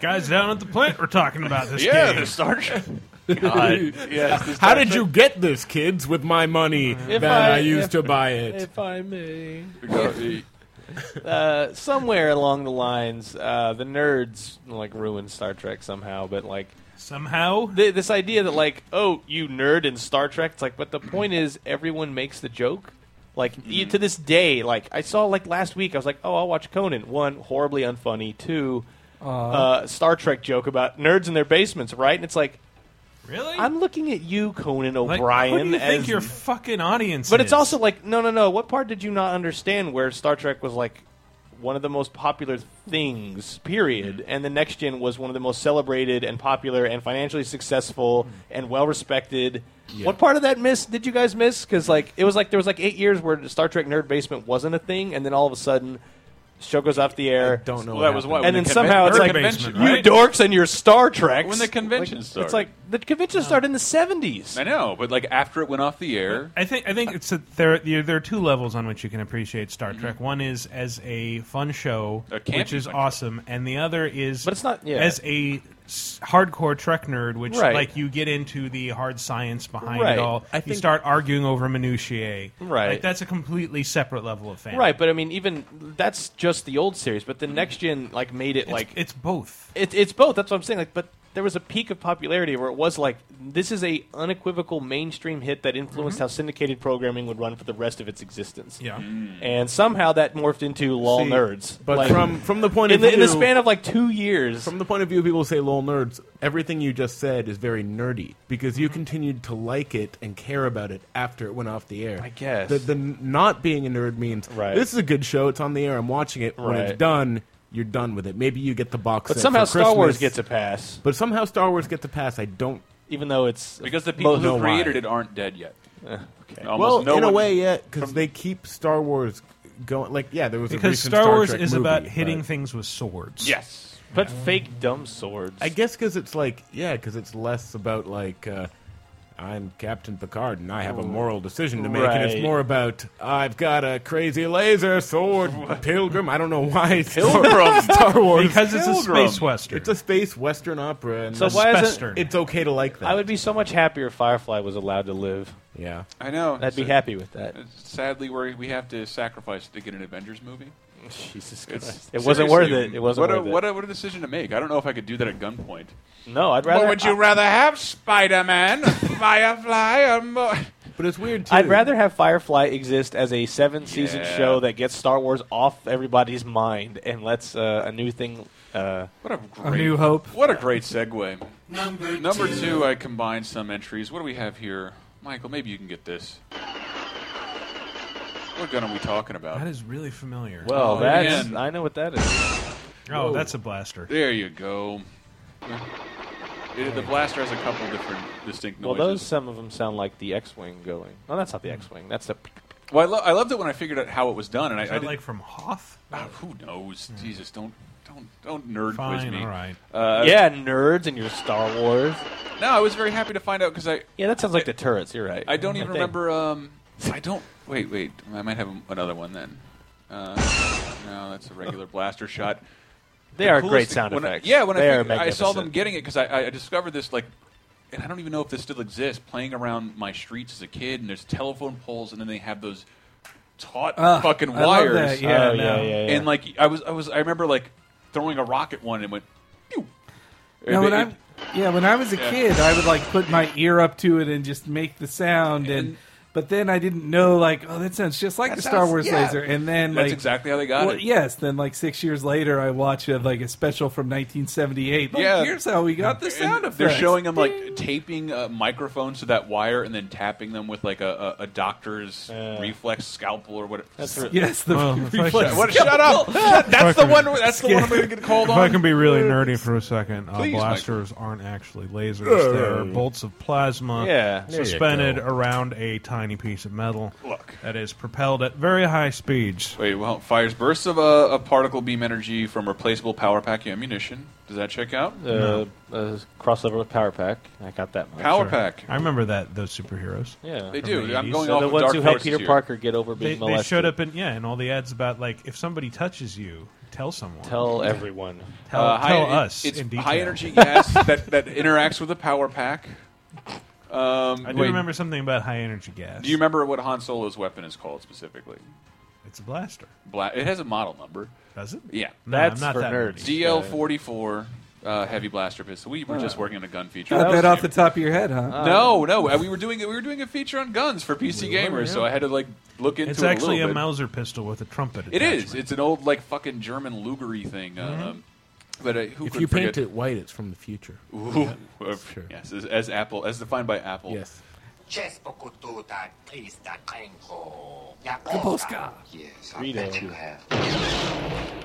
G: Guys down at the plant were talking about this.
E: yeah,
G: game.
E: the Star Trek.
F: How did you get this, kids, with my money that I, used
I: if-
F: to buy it?
I: If I may.
E: you?
I: Uh, somewhere along the lines, uh, the nerds like ruined Star Trek somehow, but like
G: somehow
I: th- this idea that like, oh, you nerd in Star Trek, it's like, but the point is, everyone makes the joke. Like
G: Mm-hmm.
I: e- to this day, like I saw like last week, I was like, oh, I'll watch Conan. One, horribly unfunny. Two, uh, Star Trek joke about nerds in their basements, right? And it's like,
G: Really?
I: I'm looking at you, Conan
G: Like,
I: O'Brien.
G: what do you think
I: as-
G: your fucking audience
I: But
G: is?
I: it's also like, no, no, no. What part did you not understand where Star Trek was like one of the most popular things, period, and the next gen was one of the most celebrated and popular and financially successful and well respected?
G: Yeah.
I: What part of that miss did you guys miss? Because like it was like there was like eight years where the Star Trek nerd basement wasn't a thing, and then all of a sudden. Show goes off the air.
F: don't
E: know Well, what that was happened. what-
I: and
E: when
I: then
E: the
I: somehow
E: conven-
I: it's
E: nerd
I: like
E: basement,
I: you
E: right?
I: dorks and your Star Treks.
E: When the convention
I: Like,
E: started.
I: it's like the convention started in the seventies.
E: I know, but like after it went off the air,
G: I think I think it's a, there. There there are two levels on which you can appreciate Star
I: Mm-hmm.
G: Trek. One is as a fun show,
E: A campy
G: which is
E: fun
G: awesome, and the other is, but
I: it's not yeah.
G: as a s- hardcore Trek nerd, which
I: Right.
G: like you get into the hard science behind
I: Right.
G: it all.
I: I
G: you
I: think-
G: start arguing over minutiae.
I: Right.
G: like, that's a completely separate level of fan.
I: Right, but I mean, even that's just the old series. But the next gen like made it
G: It's-
I: like
G: it's both.
I: It, it's both. That's what I'm saying. Like, but there was a peak of popularity where it was like this is a unequivocal mainstream hit that influenced how syndicated programming would run for the rest of its existence.
G: Yeah.
I: and somehow that morphed into lol
F: See,
I: nerds.
F: But
I: Like,
F: from from the point
I: in
F: of
I: the,
F: view,
I: in the span of like two years,
F: from the point of view of people who say lol nerds, everything you just said is very nerdy because
I: Mm-hmm.
F: you continued to like it and care about it after it went off the air. I
I: guess.
F: the, the not being a nerd means
I: Right.
F: this is a good show. It's on the air. I'm watching it. When it's
I: Right.
F: done, you're done with it. Maybe you get the box.
I: but
F: set
I: somehow
F: for
I: Star Wars
F: Christmas.
I: gets a pass,
F: But somehow Star Wars gets a pass. I don't.
I: even though it's
E: because the people
F: know
E: who
F: why.
E: created it aren't dead yet.
I: okay.
E: Almost
F: well,
E: no
F: in a
E: one-
F: way, yeah, because they keep Star Wars going. Like, yeah, there was a
G: because
F: recent
G: Star, Wars
F: Trek
G: is
F: movie,
G: about
F: but-
G: hitting things with swords.
E: Yes,
I: but fake dumb swords.
F: I guess because it's like, yeah, because it's less about like, uh, I'm Captain Picard and I have a moral decision to make, and it's
I: Oh, Right.
F: more about I've got a crazy laser sword pilgrim. I don't know why it's Star-
G: Pilgrim.
F: Star Wars
G: Because it's a Pilgrim. space western.
F: It's a space western opera, and
I: So
F: that's-
I: why isn't
F: it's okay to like that?
I: I would be so much happier if Firefly was allowed to live.
F: yeah,
E: I know.
I: I'd be happy with that.
E: Sadly, we we have to sacrifice to get an Avengers movie.
I: Jesus
E: It's-
I: Christ. It wasn't worth it. It wasn't
E: what
I: worth
E: a,
I: it.
E: What a, what a decision to make. I don't know if I could do that at gunpoint.
I: No, I'd rather.
E: rather have, Spider-Man, Firefly, or more?
F: but it's weird too.
I: I'd rather have Firefly exist as a seven season
E: Yeah.
I: show that gets Star Wars off everybody's mind and lets uh, a new thing. Uh,
E: What a
H: A
E: great,
H: New Hope.
E: What a great segue.
L: Number
E: Number
L: two.
E: two, I combined some entries. What do we have here, Michael? Maybe you can get this. What gun are we talking
G: That
E: about?
G: is really familiar.
I: well,
E: Oh,
I: that's.
E: man.
I: I know what that is.
G: oh, that's a blaster.
E: There you go. It- the blaster has a couple different distinct
I: Well,
E: noises.
I: those some of them sound like the X Wing going. No, that's not the X Wing. That's the.
E: Well, I, lo- I loved it when I figured out how it was done, and I,
G: Is
E: I
G: that
E: didn't-
G: like from Hoth?
E: Ah, who knows? Jesus, don't don't don't nerd quiz
G: Fine,
E: me.
G: all right.
E: Uh,
I: yeah, nerds and your Star Wars.
E: No, I was very happy to find out because I
I: Yeah, that sounds like the turrets. You're right.
E: I don't even
I: think.
E: remember. Um, I don't. Wait, wait. I might have another one then. Uh, no, that's a regular blaster shot.
I: They
E: The
I: are
E: coolest
I: great
E: thing-
I: sound
E: when I-
I: effects.
E: yeah, when
I: They
E: I,
I: are
E: fig- I saw them
I: magnificent.
E: getting it because I, I discovered this like, and I don't even know if this still exists. Playing around my streets as a kid, and there's telephone poles, and then they have those taut
H: Ah,
E: fucking
H: I love
E: wires.
H: that, yeah,
I: Oh,
F: Um,
I: yeah,
H: no.
I: yeah, yeah.
E: And like I was, I was, I remember like throwing a rocket one and it went. Pew.
H: Now,
E: It-
H: when
E: it-
H: I yeah, when I was a
E: Yeah.
H: kid, I would like put my ear up to it and just make the sound, and, but then I didn't know like, oh, that sounds just like
E: That
H: the Star
E: sounds-
H: Wars
E: yeah.
H: laser, and then
E: That's
H: like
E: exactly how they got
H: well,
E: it.
H: Yes, then like six years later, I watch a, like a special from 1978. Like,
E: Yeah.
H: here's how we got the sound
E: And
H: effects.
E: They're showing them like taping a microphone to that wire and then tapping them with like a, a, a doctor's reflex scalpel or whatever.
I: That's re-
H: yes, the
G: Well, if I
H: reflex.
G: should-
E: What- shut up! Shut- that's the
G: Fucking-
E: one. That's the one I'm going to get called
G: If I
E: on.
G: can be really nerdy for a second, uh,
E: Please, Mike.
G: blasters aren't actually lasers. They're bolts of plasma
I: Yeah. There
F: you
G: suspended
F: go.
G: around a tiny piece of metal
E: Look.
G: that is propelled at very high speeds.
E: Wait, well, fires bursts of a, a particle beam energy from replaceable power pack ammunition. Does that check out?
I: Uh, uh, crossover with Power Pack. I got that much.
E: power
G: Sure.
E: pack.
G: I remember that those superheroes.
I: Yeah.
E: They
G: From
E: do.
G: the
E: I'm
G: 80s.
E: going
I: So
E: off
I: the
E: of
I: ones
E: Dark
I: who helped
E: Horses
I: Peter
E: here.
I: Parker get over
G: They,
I: being
G: they
I: molested.
G: showed up in yeah, and all the ads about like if somebody touches you, tell someone.
I: Tell everyone.
G: tell,
E: Uh, high-
G: tell
E: it-
G: us.
E: It's
G: in detail.
E: high energy gas that, that interacts with a power pack. Um,
G: I do
E: wait,
G: remember something about high energy gas.
E: Do you remember what Han Solo's weapon is called specifically?
G: It's a blaster.
E: Bla- it has a model number.
G: Does it?
E: Yeah.
G: No,
I: That's
G: I'm not
I: for
G: that
I: nerds.
G: nerdy.
E: DL forty four uh, heavy blaster pistol. We were just working on a gun feature.
H: Got that off the top of your head, huh?
E: No, no, uh, we were doing we were doing a feature on guns for PC
G: We were,
E: gamers, so
G: yeah.
E: I had to like look into
G: It's
E: it
G: actually
E: a
G: a
E: little bit.
G: Mauser pistol with a trumpet.
E: It is.
G: attachment.
E: It's an old like fucking German Lugery thing. Um,
G: Mm-hmm.
E: But uh, who
F: if
E: could
F: you paint
E: forget-
F: it white, it's from the future.
E: Ooh,
F: Yeah,
E: uh,
F: sure.
E: yes, as, as Apple, as defined by Apple.
F: Yes.
Q: Cześć pokututa, Krista Kręko.
E: Polska.
Q: Yes,
I: Greedo.
Q: have.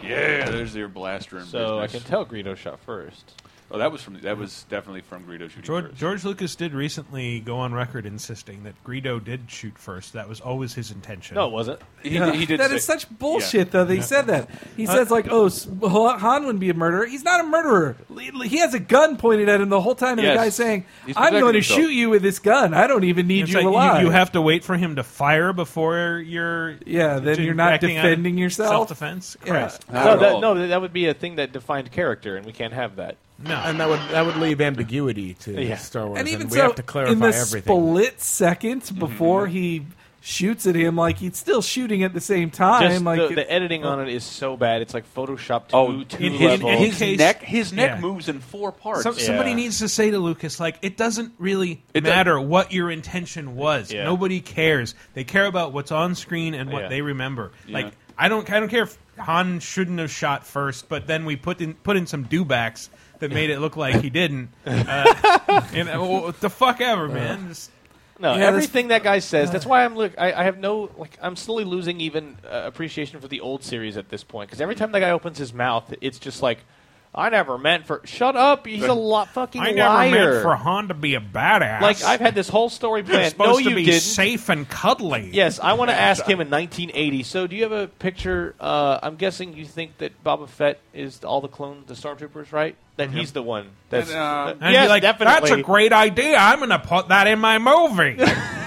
E: Yeah, there's your blaster. In
I: So I
E: business.
I: can tell Greedo shot first.
E: Oh, that was from that was definitely from Greedo shooting
G: George,
E: first.
G: George Lucas did recently go on record insisting that Greedo did shoot first. That was always his intention.
I: No, it wasn't.
E: He, he did.
H: That
E: say-
H: is such bullshit,
G: Yeah.
H: though. That he
G: Yeah.
H: said that. He
G: Uh,
H: says like, "Oh, S- Han would be a murderer." He's not a murderer. He has a gun pointed at him the whole time, and
G: Yes.
H: the guy's saying,
G: He's
H: "I'm
G: protecting
H: going to
G: himself."
H: shoot you with this gun. I don't even need
G: It's
H: you
G: like
H: alive."
G: You, have to wait for him to fire before you're.
H: Yeah, then
G: to-
H: you're not
G: acting out of
H: defending yourself.
G: Self-defense.
H: Yeah.
G: Christ.
I: No, that, no, that would be a thing that defined character, and we can't have that.
G: No,
F: and that would that would leave ambiguity to
I: Yeah.
F: Star Wars,
H: and even
F: we
H: so,
F: have to clarify
H: in the
F: everything.
H: split second before he shoots at him, like he's still shooting at the same time.
I: Just
H: like
I: the, the editing
H: oh.
I: on it is so bad. It's like Photoshop to
E: Oh,
I: two
E: in- in-
I: level.
E: in his Case- neck- his neck moves in four parts.
G: Some, Somebody
I: Yeah.
G: needs to say to Lucas, like, it doesn't really
E: It doesn't-
G: matter what your intention was.
I: Yeah.
G: Nobody cares. They care about what's on screen and what
I: Yeah.
G: they remember.
I: Yeah.
G: Like, I don't, I don't care if Han shouldn't have shot first, but then we put in put in some dewbacks that made it look like he didn't. Uh, and uh, what the fuck ever, man. Just-
I: No, everything that guy says. That's why I'm look. I, I have no like. I'm slowly losing even uh, appreciation for the old series at this point because every time that guy opens his mouth, it's just like, I never meant for. Shut up! He's a lot fucking
G: I never
I: liar.
G: meant for Han to be a badass.
I: like I've had this whole story
G: You're
I: planned.
G: supposed
I: No,
G: to
I: you
G: be
I: didn't.
G: safe and cuddly.
I: Yes, I want to ask him in 1980. So, do you have a picture? Uh, I'm guessing you think that Boba Fett is all the clone, the stormtroopers, right?
E: Mm-hmm.
I: That he's the one. That's
E: And,
G: And
I: yes,
G: be like,
I: definitely.
G: That's a great idea. I'm going to put that in my movie.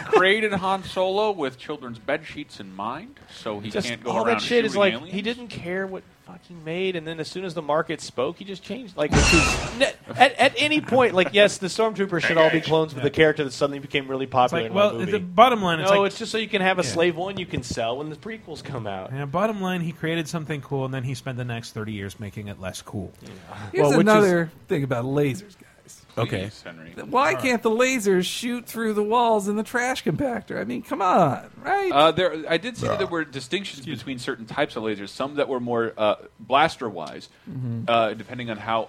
E: created Han Solo with children's bed sheets in mind, so he
I: Just
E: can't go
I: all
E: around
I: that shit is
E: shooting
I: like
E: aliens.
I: he didn't care what fucking made, and then as soon as the market spoke, he just changed. Like which is- ne- at, at any point, like yes, the stormtroopers should all be clones, but the character that suddenly became really popular.
G: like,
I: in
G: well,
I: one movie.
G: the bottom line,
I: no,
G: it's like-
I: just so you can have a
G: Yeah.
I: slave one you can sell when the prequels come out.
G: Yeah, bottom line, he created something cool, and then he spent the next 30 years making it less cool.
H: Here's another thing about lasers, guys.
G: Okay.
E: Henry.
H: Why can't the lasers shoot through the walls in the trash compactor? I mean, come on, right?
E: Uh, there, I did see that there were distinctions between certain types of lasers. Some that were more uh, blaster-wise,
I: Mm-hmm.
F: Mhm.
E: uh, depending on how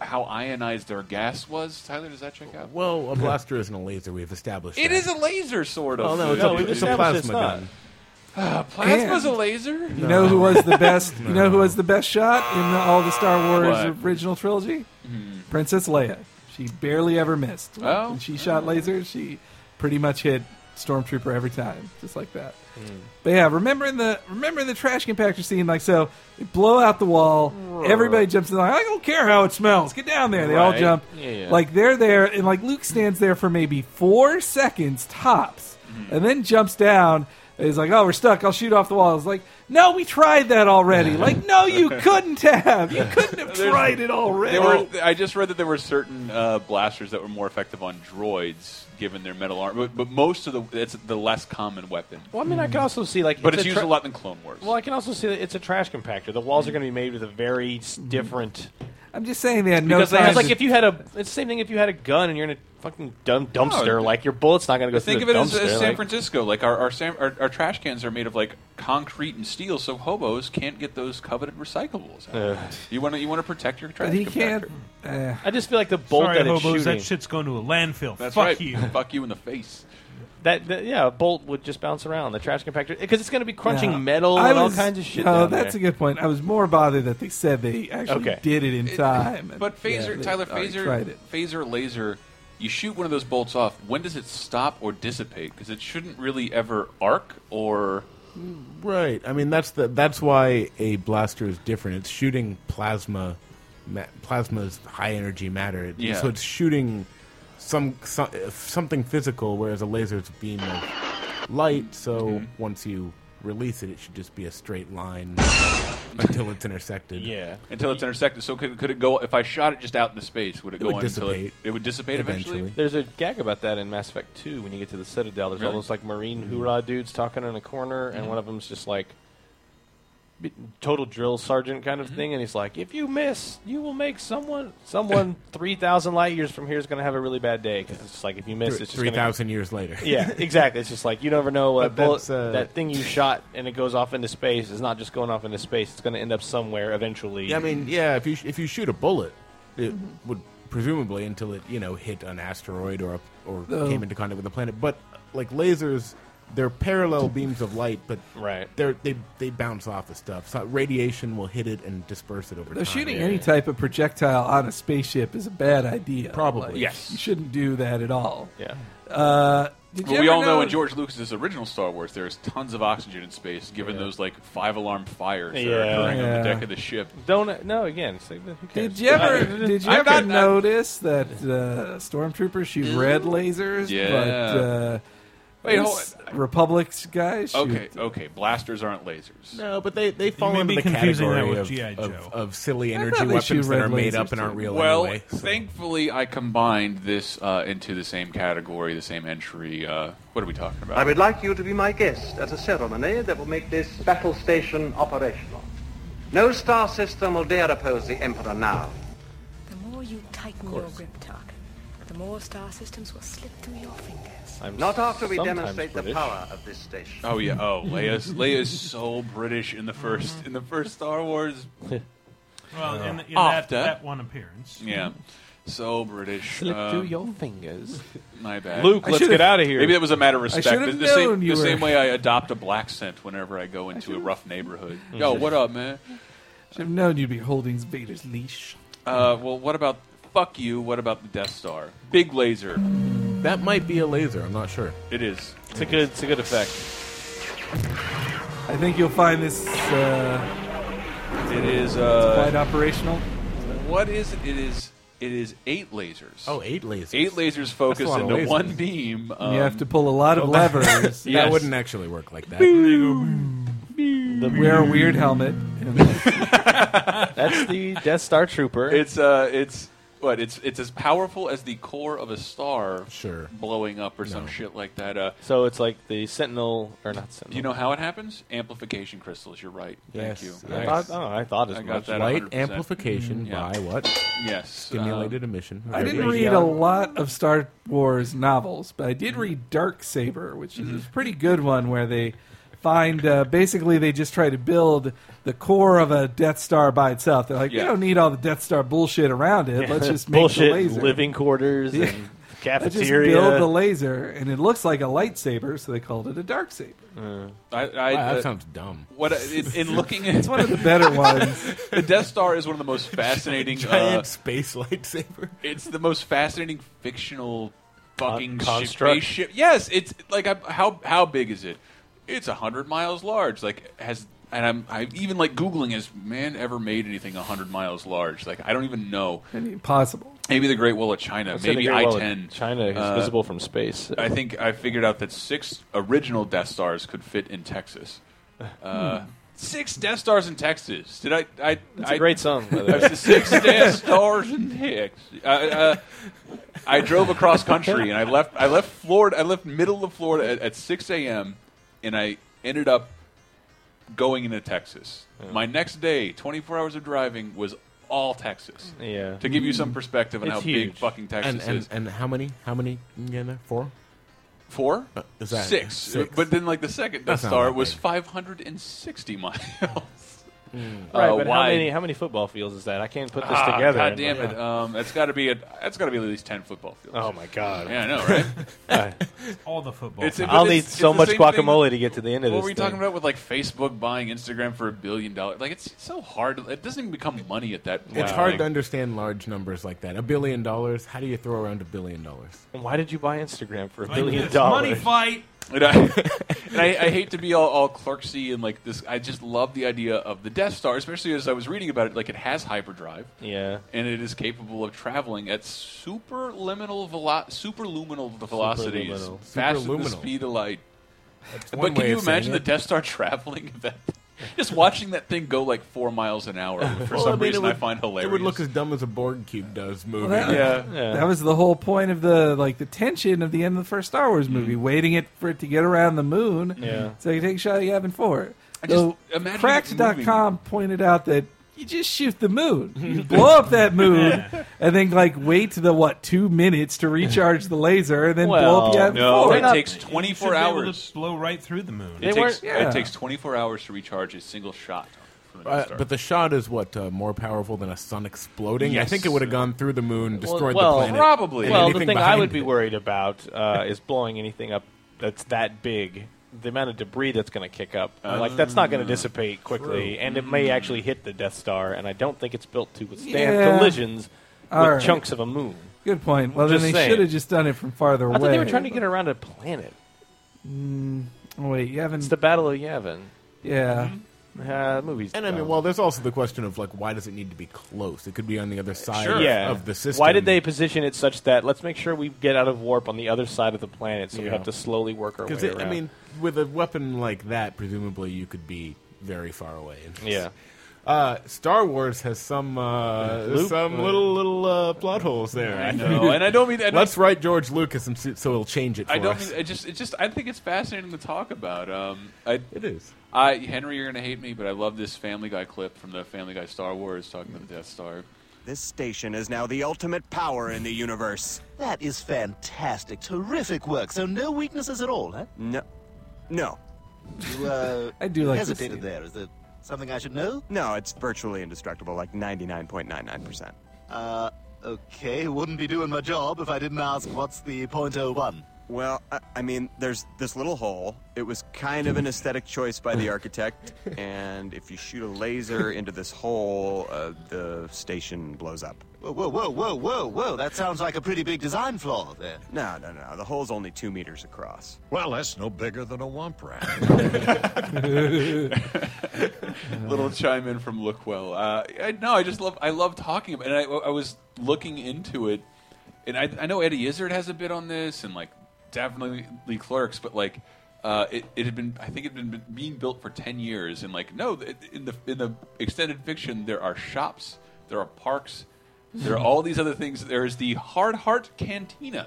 E: how ionized their gas was. Tyler, does that check out?
F: well, a blaster isn't a laser. We've established
E: It
F: that.
E: is a laser, sort
I: Oh,
F: Well,
E: of.
F: Oh, no, it's
E: No,
F: a,
E: we've
F: it's a
E: established
F: plasma
E: it's not.
F: gun.
E: Uh, plasma's
H: And-
E: a laser.
H: You know who was the best? You know who was the best shot in the, all the Star Wars
E: What? Mm-hmm.
H: original trilogy? Princess Leia. She barely ever missed.
E: Oh.
H: When she shot lasers, she pretty much hit stormtrooper every time, just like that. But yeah, remember in the remember in the trash compactor scene, like so, they blow out the wall. Everybody jumps in. Like I don't care how it smells. Get down there. They all
I: Right.
H: jump.
I: Yeah, yeah.
H: Like they're there, and like Luke stands there for maybe four seconds tops,
I: Mm-hmm.
H: and then jumps down. And He's like, "Oh, we're stuck. I'll shoot off the wall." It's like, "No, we tried that already." Like, "No, you couldn't have. You couldn't have tried it already."
E: There were, I just read that there were certain uh, blasters that were more effective on droids, given their metal arm. But, but most of the it's the less common weapon.
I: Well, I mean, I can also see like,
E: But it's
I: a
E: used
I: tra-
E: a lot in Clone Wars.
I: Well, I can also see that it's a trash compactor. The walls are going to be made with a very s- different.
H: I'm just saying they had no
I: because
H: time.
I: it's like
H: to-
I: if you had a, it's the same thing. If you had a gun and you're in a fucking dumb dumpster,
E: No.
I: like your bullet's not going to go
E: Think
I: through
E: of
I: the
E: it as,
I: dumpster.
E: as San
I: like-
E: Francisco. Like our our, Sam, our our trash cans are made of like concrete and steel, so hobos can't get those coveted recyclables. out. you want to you want to protect your trash.
H: But he
E: compactor.
H: can't. eh.
I: I just feel like the bolt
G: Sorry,
I: that it's
G: hobos,
I: shooting.
G: that shit's going to a landfill.
E: That's
G: Fuck
E: right.
G: you.
E: Fuck you in the face.
I: That, that- yeah, a bolt would just bounce around the trash compactor because it's going to be crunching
H: Yeah.
I: metal
H: I
I: and all
H: was-
I: kinds of shit.
H: No,
I: down
H: that's
I: there.
H: a good point. I was more bothered that they said they actually
I: Okay.
H: did it in
E: It-
H: time.
E: But
H: Yeah,
E: phaser,
H: they
E: Tyler,
H: already
E: phaser,
H: tried it.
E: phaser laser. You shoot one of those bolts off. When does it stop or dissipate? Because it shouldn't really ever arc or.
F: Right. I mean, that's the that's why a blaster is different. It's shooting plasma. Ma- plasma's high energy matter. It-
E: Yeah.
F: So it's shooting some, so- uh something physical, whereas a laser is a beam of light. So
I: Mm-hmm.
F: once you release it, it should just be a straight line until it's intersected.
E: Until it's intersected. So could, could it go? If I shot it just out into space, would it,
F: It
E: go
F: would
E: on until it,
F: dissipate.
E: it would dissipate eventually?
F: Eventually.
I: There's a gag about that in Mass Effect 2 when you get to the Citadel. There's all
E: Really? Mm-hmm.
I: those like Marine hoorah dudes talking in a corner, and
E: Mhm.
I: one of them's just like, b- total drill sergeant kind of thing, and he's like, "If you miss, you will make someone someone three thousand light years from here is going to have a really bad day." 'Cause it's just like if you miss,
F: Three-
I: it's just
F: three
I: gonna-
F: thousand years later.
I: yeah, exactly. It's just like you never know what a
F: But
I: bullet,
F: that's, uh,
I: that thing you shot and it goes off into space is not just going off into space. It's going to end up somewhere eventually.
F: Yeah, I mean, yeah. If you sh- if you shoot a bullet, it
E: Mm-hmm.
F: would presumably until it you know hit an asteroid or a, or
H: Oh.
F: came into contact with the planet. But like lasers, they're parallel beams of light, but
I: right,
F: they're, they they bounce off the stuff. So radiation will hit it and disperse it over
H: Though
F: time.
H: shooting any type of projectile on a spaceship is a bad idea.
F: Probably.
H: yes. You shouldn't do that at all.
I: Yeah.
H: Uh, did
E: Well,
H: you
E: we
H: ever
E: all know
H: know
E: in George Lucas's original Star Wars, there's tons of oxygen in space, given those like five alarm fires that are
I: Yeah.
E: occurring on the
H: Yeah.
E: deck of the ship.
I: Don't no again. It's like, who cares?
H: Did you ever?
I: Uh,
H: Did you
I: I'm
H: ever
I: not-
H: notice that uh, stormtroopers shoot red lasers?
E: Yeah.
H: But, uh,
E: Wait, hold
H: these Republic's guys. Shoot
E: Okay, okay, blasters aren't lasers.
F: No, but they they fall
E: may
F: into
E: be
F: the
E: confusing that
F: category
E: with
F: of,
E: G.I.
F: of, of silly
E: I
F: energy
E: thought they
F: weapons
E: shoot
F: that
E: red
F: are made
E: lasers
F: up and aren't
E: too.
F: real
E: Well,
F: anyway.
E: thankfully, I combined this uh, into the same category, the same entry. Uh, what are we talking about?
R: I would like you to be my guest at a ceremony that will make this battle station operational. No star system will dare oppose the Emperor now.
S: The more you tighten
R: Of
S: your
R: course.
S: grip, Tark, the more star systems will slip through your fingers.
R: Not after we
E: sometimes
R: demonstrate
E: British.
R: the power Uh, of this station.
E: Oh yeah. Oh, Leia's Leia's so British in the first in the first Star Wars.
G: Well, in, in
E: After.
G: that, that one appearance.
E: Yeah. So British. uh,
G: Slip
I: through your fingers.
E: My bad.
I: Luke, I let's should've- get outta here.
E: Maybe that was a matter of
I: I
E: respect.
I: should've
E: the same,
I: known you
E: the
I: were-
E: same way I adopt a black scent whenever I go into a rough neighborhood.
I: Mm-hmm.
E: Yo, what up, man?
H: Should have known you'd be holding Vader's leash.
E: Uh, well, what about fuck you? What about the Death Star? Big laser.
F: That might be a laser. I'm not sure.
E: It is.
I: It's a good. It's a good effect.
H: I think you'll find this. Uh,
E: It is, uh,
H: it's quite operational.
E: What is it? It is. It is eight lasers.
F: Oh, eight lasers.
E: Eight lasers
F: That's a
E: focus
F: lot of
E: into
F: lasers.
E: one beam. Um,
H: you have to pull a lot of
F: Well, that-
H: levers.
F: that
H: Yes.
F: wouldn't actually work like that.
H: Wear a weird helmet.
I: That's the Death Star trooper.
E: It's uh, it's what? It's it's as powerful as the core of a star.
F: Sure.
E: Blowing up or some shit like that. Uh,
I: so it's like the Sentinel or not Sentinel.
E: do you know how it happens? Amplification crystals. You're right.
F: Yes.
E: Thank you.
F: I Nice. thought-
I: oh, I thought as
E: I
I: much.
E: got that
F: Light
E: 100%.
F: amplification
E: Yeah.
F: by what?
E: Yes. uh,
F: Stimulated emission.
H: Mm-hmm. Uh, I didn't
F: Radio.
H: read a lot of Star Wars novels, but I did
I: Mm-hmm.
H: read Dark Saber, which is a pretty good one where they find uh, basically they just try to build the core of a Death Star by itself. They're like, we
I: Yeah.
H: don't need all the Death Star bullshit around it. Let's just make
I: bullshit
H: the laser.
I: living quarters
H: Yeah.
I: and
H: Let's just
I: cafeteria.
H: build the laser, and it looks like a lightsaber, so they called it a dark saber.
E: I, I,
F: Wow, that
E: uh,
F: sounds dumb.
E: What I- in, in looking at
H: It's one of the better ones.
E: the Death Star is one of the most fascinating
F: Giant
E: uh,
F: space lightsaber.
E: It's the most fascinating fictional fucking
F: Con- construct?
E: spaceship. Yes, it's like I, how how big is it? It's a hundred miles large. Like has and I'm I even like googling has man ever made anything a hundred miles large? Like I don't even know.
H: Impossible.
E: Maybe the Great Wall of China.
I: Let's say the
E: maybe I
I: Great Wall of
E: ten. Uh,
I: China is visible from space.
E: I think I figured out that six original Death Stars could fit in Texas. Uh, Six Death Stars in Texas. Did I? I
I: Hmm. That's
E: I-
I: a great song, by the way.
E: That's the six Death Stars in Texas. I, uh, I drove across country and I left. I left Florida. I left middle of Florida at, at six a.m. and I ended up going into Texas. My next day, twenty-four hours of driving was all Texas.
I: Yeah.
E: To give you some perspective on how big fucking Texas
F: and, and,
E: is.
F: And how many? How many in there? Four?
E: Four?
F: Uh, is that-
E: six.
F: six.
E: But then, like, the second Death
F: That's not
E: Star
F: that
E: was 560 miles.
F: Mm.
E: Uh,
I: Right, but how
E: wide.
I: many, how many football fields is that? I can't put this
E: Ah,
I: together.
E: God
I: in,
E: damn
I: like-
E: it! Um, that's got to be a. That's got to be at least ten football fields.
I: Oh my god!
E: Yeah, I know, right?
G: All the football
E: It's-
I: fields. I'll
E: but
I: need
E: it's-
I: so
E: it's the
I: much
E: same thing-
I: guacamole to get to the end of
E: what
I: this
E: were we
I: thing.
E: talking about with like Facebook buying Instagram for a billion dollars? Like it's so hard. to- It doesn't even become money at that. point.
F: It's hard
E: Like,
F: to understand large numbers like that. A billion dollars. How do you throw around a billion dollars?
I: And why did you buy Instagram for a
F: Like
I: billion
F: this
I: dollars?
F: money fight.
E: And I, and I, I hate to be all, all clerksy and like this. I just love the idea of the Death Star, especially as I was reading about it. Like it has hyperdrive.
I: Yeah.
E: and it is capable of traveling at superliminal velo- superluminal velocities,
I: Superluminal.
E: faster than
I: Superluminal.
E: the speed of light.
I: one
E: But
I: way
E: can you
I: of saying
E: imagine the
I: it.
E: Death Star traveling? That, just watching that thing go like four miles an hour for
F: Well,
E: some
F: I mean, it
E: reason I
F: would-
E: find hilarious.
F: It would look as dumb as a Borg cube does moving.
H: Well, that, that was the whole point of the like the tension of the
I: Mm-hmm.
H: end of the first Star Wars movie, waiting it for it to get around the moon.
F: Yeah.
H: So you take a shot at Yavin Four.
E: I just
H: So
E: imagine it
H: Cracks.com pointed out that you just shift the mood. You blow up that mood
I: Yeah.
H: and then like wait the what two minutes to recharge the laser and then blow up
E: Well,
H: the atom
E: no,
H: four.
E: Oh, it takes 24 hours.
G: blow right through the moon.
E: It takes, it takes 24 hours to recharge a single shot. From the
F: Uh,
E: start.
F: but the shot is what uh, more powerful than a sun exploding. I
I: Yes.
F: think it would have gone through the moon, destroyed
I: well,
F: the planet. and
I: Well, the
F: anything
I: thing I
F: behind
I: would be
F: it.
I: worried about uh, is blowing anything up that's that big. The amount of debris that's going to kick up, Uh, like that's not going
H: Ah,
I: to dissipate quickly,
H: true.
I: and it may actually hit the Death Star. And I don't think it's built to withstand
H: Yeah.
I: collisions
H: All
I: with
H: right.
I: chunks of a moon.
H: Good point. Well,
I: Just
H: then they
I: saying.
H: should have just done it from farther
I: I
H: away.
I: thought they were trying to get around a planet.
H: Mm, oh, wait, Yavin. It's
I: the Battle of Yavin.
H: Yeah.
I: Uh, movies.
F: And I mean,
I: dumb.
F: well, there's also the question of like, why does it need to be close? It could be on the other side of-
I: yeah.
F: of the system.
I: Why did they position it such that let's make sure we get out of warp on the other side of the planet, so we
F: Yeah.
I: have to slowly work our way
F: Because
I: around?
F: I mean, with a weapon like that, presumably you could be very far away.
I: Yeah.
F: Uh, Star Wars has some uh,
I: Loop-
F: some little little uh, plot holes there.
E: Mm-hmm. I know, and I don't mean- I don't-
F: Let's write George Lucas, and see, so he'll change it. For
E: I don't.
F: us.
E: Mean, I just. It just. I think it's fascinating to talk about. Um, I,
F: it is.
E: I Henry, you're gonna hate me, but I love this Family Guy clip from the Family Guy Star Wars talking about the Death Star.
T: This station is now the ultimate power in the universe.
U: That is fantastic. Terrific work. So no weaknesses at all, huh?
T: No. No.
U: You, uh,
T: I do like this
U: hesitated
T: scene.
U: there. Is there something I should know?
T: No, it's virtually indestructible, like 99.99%.
U: Uh, okay. Wouldn't be doing my job if I didn't ask what's the point oh one.
T: Well, I, I mean, there's this little hole. It was kind of an aesthetic choice by the architect, and if you shoot a laser into this hole, uh, the station blows up.
U: Whoa, whoa, whoa, whoa, whoa, whoa. That sounds like a pretty big design flaw there.
T: No, no, no. The hole's only two meters across.
V: Well, that's no bigger than a womp rat.
E: Little chime in from Lookwell. Uh, I, no, I just love. I love talking about. It. And I, I was looking into it, and I, I know Eddie Izzard has a bit on this, and like definitely Lee Clerks, but like. Uh, it, it had been, I think, it had been being built for ten years, and like, no, it- Oh, in the in the extended fiction, there are shops, there are parks, there are all these other things. There is the Hard Heart Cantina,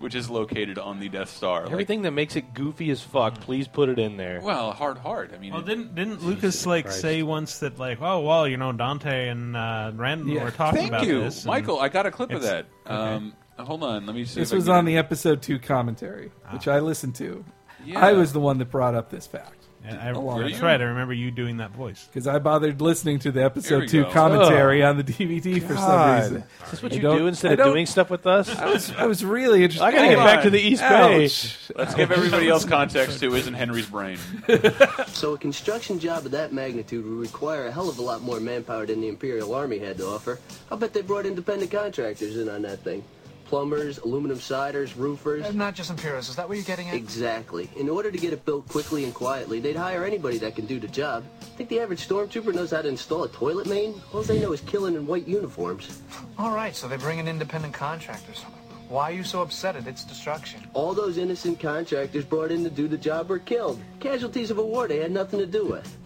E: which is located on the Death Star. Like,
I: Everything that makes it goofy as fuck, please put it in there.
E: well, hard heart. I mean,
G: Well,
E: it-
G: didn't didn't Lucas like
E: Christ.
G: say once that like, oh well, you know, Dante and uh, Rand
E: Yeah.
G: were talking
E: Thank
G: about
E: you,
G: this, and
E: Michael. I got a clip of that.
G: it's-
E: Um, hold on, let me see.
H: This
E: if I
H: was
E: can
H: on the episode two commentary, which I listened to.
E: Ah. Yeah.
H: I was the one that brought up this fact.
G: I, I,
H: Along
G: that's
H: with-
G: right. I remember you doing that voice.
H: Because I bothered listening to the
G: Here
H: episode
G: we
H: two
G: go.
H: commentary
G: Ugh.
H: on the DVD for some
G: God.
H: reason.
G: Is this what
H: I
G: you
H: don't-
I: do
H: I
I: instead of
H: don't-
I: doing stuff with us?
H: I was I was really interested.
I: I gotta get
H: Hold
I: back
H: on.
I: to the East
H: Ouch.
I: Bay.
E: Let's give everybody else context who isn't Henry's brain.
W: So a construction job of that magnitude would require a hell of a lot more manpower than the Imperial Army had to offer. I'll bet they brought independent contractors in on that thing. Plumbers, aluminum siders, roofers.
X: And not just Imperials, is that what you're getting at?
W: Exactly. In order to get it built quickly and quietly, they'd hire anybody that can do the job. Think the average stormtrooper knows how to install a toilet main? All they know is killing in white uniforms.
X: All right, so they bring in independent contractors. Why are you so upset at its destruction?
W: All those innocent contractors brought in to do the job were killed. Casualties of a war they had nothing to do with.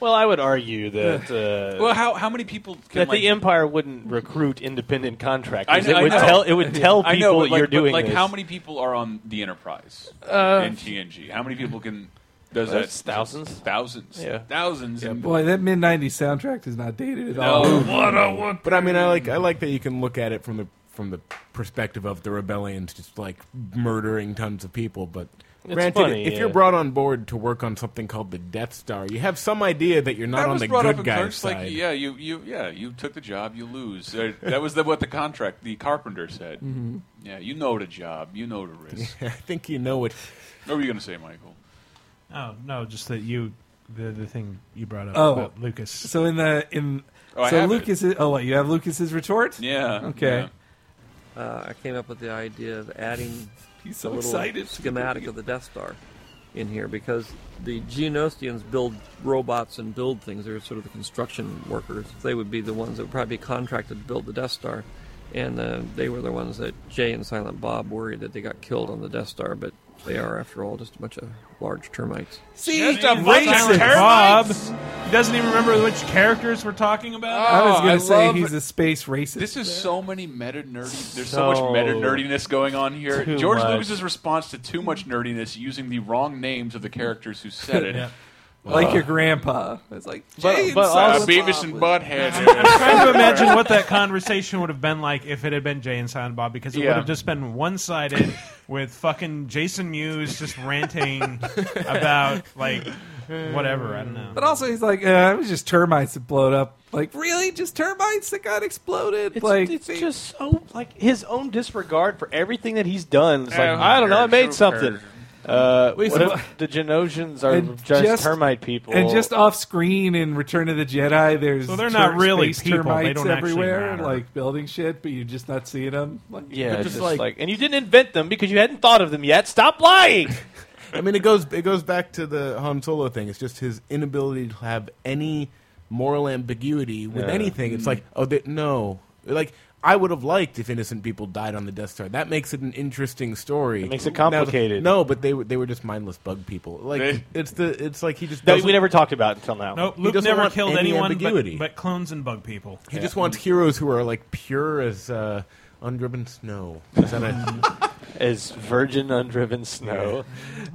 I: Well, I would argue that. Uh,
W: Well,
E: uh, how how many people can,
V: uh,
I: that
E: like-
I: the Empire wouldn't recruit independent contractors?
E: I
I: it
E: know- I
I: would
E: know.
I: tell. It would tell people
E: I know, but like,
I: you're
E: but
I: doing
E: like
I: this.
E: how many people are on the Enterprise
I: Uh,
E: in TNG? How many people can? Does
I: Well,
E: that
I: it's thousands.
E: Thousands.
I: Yeah.
E: Thousands. and
H: Boy, that mid '90s soundtrack is not dated at
E: No.
H: all.
E: What a wo-
F: But I mean, I like I like that you can look at it from the from the perspective of the rebellions, just like murdering tons of people. But
I: It's
F: granted,
I: funny,
F: if
I: yeah.
F: you're brought on board to work on something called the Death Star, you have some idea that you're not
E: that
F: on
E: was
F: the
E: brought up
F: good
E: in
F: guy's
E: Clerks,
F: side.
E: like, yeah, you, you, yeah, you took the job, you lose. Uh, that was the, what the contract, the carpenter said.
H: Mm-hmm.
F: Mhm.
E: Yeah, you know the job, you know the risk.
F: I think you know it.
E: What were you going to say, Michael?
G: Oh no, just that you, the the thing you brought up
H: Oh,
G: about Lucas.
H: So in the in
G: Oh, I
H: so
G: have it.
H: Lucas. Is, oh, what you have Lucas's retort? Okay.
Y: Uh, I came up with the idea of adding
H: He's so
Y: a little
H: excited.
Y: schematic of the Death Star in here because the Geonosians build robots and build things. They're sort of the construction workers. They would be the ones that would probably be contracted to build the Death Star. And uh, they were the ones that Jay and Silent Bob worried that they got killed on the Death Star, but they are, after all, just a bunch of large termites.
H: See,
Y: Just a bunch of
H: racist.
Y: termites?
G: Bob, He doesn't even remember which characters we're talking about.
H: I was going to say he's a space racist.
E: This is so many meta nerdy. There's so, much meta nerdiness going on here.
I: Too
E: George
I: much.
E: Lucas's response to too much nerdiness using the wrong names of the characters who said it.
H: Yeah. Like your grandpa. It's like,
E: But,
H: Jane
E: but
H: Silent
E: also, Uh, Beavis
H: Bob
E: and
H: was-
E: Butthead.
G: I'm trying to imagine what that conversation would have been like if it had been Jay and Silent Bob because it
E: Yeah.
G: would have just been one sided with fucking Jason Mewes just ranting about like whatever. I don't know.
H: But also, he's like, uh, it was just termites that blowed up. Like, really? Just termites that got exploded?
I: It's,
H: like,
I: it's just so like his own disregard for everything that he's done. It's like
H: Yeah, who
I: Uh, I don't know, I
H: cares?
I: made
H: Who
I: something.
H: cares?
I: Uh,
H: Wait,
I: what
H: so
I: if the Genosians are
H: and
I: just, termite people?
H: And just off screen in Return of the Jedi, there's
G: So they're not
H: ter-
G: really
H: space
G: people. They
H: termites
G: don't actually
H: everywhere,
G: matter.
H: like building shit, but you're just not seeing them. Like,
I: yeah,
H: they're
I: just like, and you didn't invent them because you hadn't thought of them yet. Stop lying.
F: I mean, it goes it goes back to the Han Solo thing. It's just his inability to have any moral ambiguity with
I: Yeah.
F: anything. It's
I: Mm.
F: like, oh, that no, like. I would have liked if innocent people died on the Death Star. That makes it an interesting story.
I: It makes it
F: Now,
I: complicated.
F: no, but they were they were just mindless bug people. Like it's the it's like he just
I: That
F: doesn't-
I: we never talked about until now.
G: Nope,
F: He
G: Luke
F: doesn't
G: never
F: want
G: killed
F: any
G: anyone
F: ambiguity.
G: but, but clones and bug people.
F: He just wants heroes who are like pure as uh, undriven snow. Is that a-
I: As virgin undriven snow.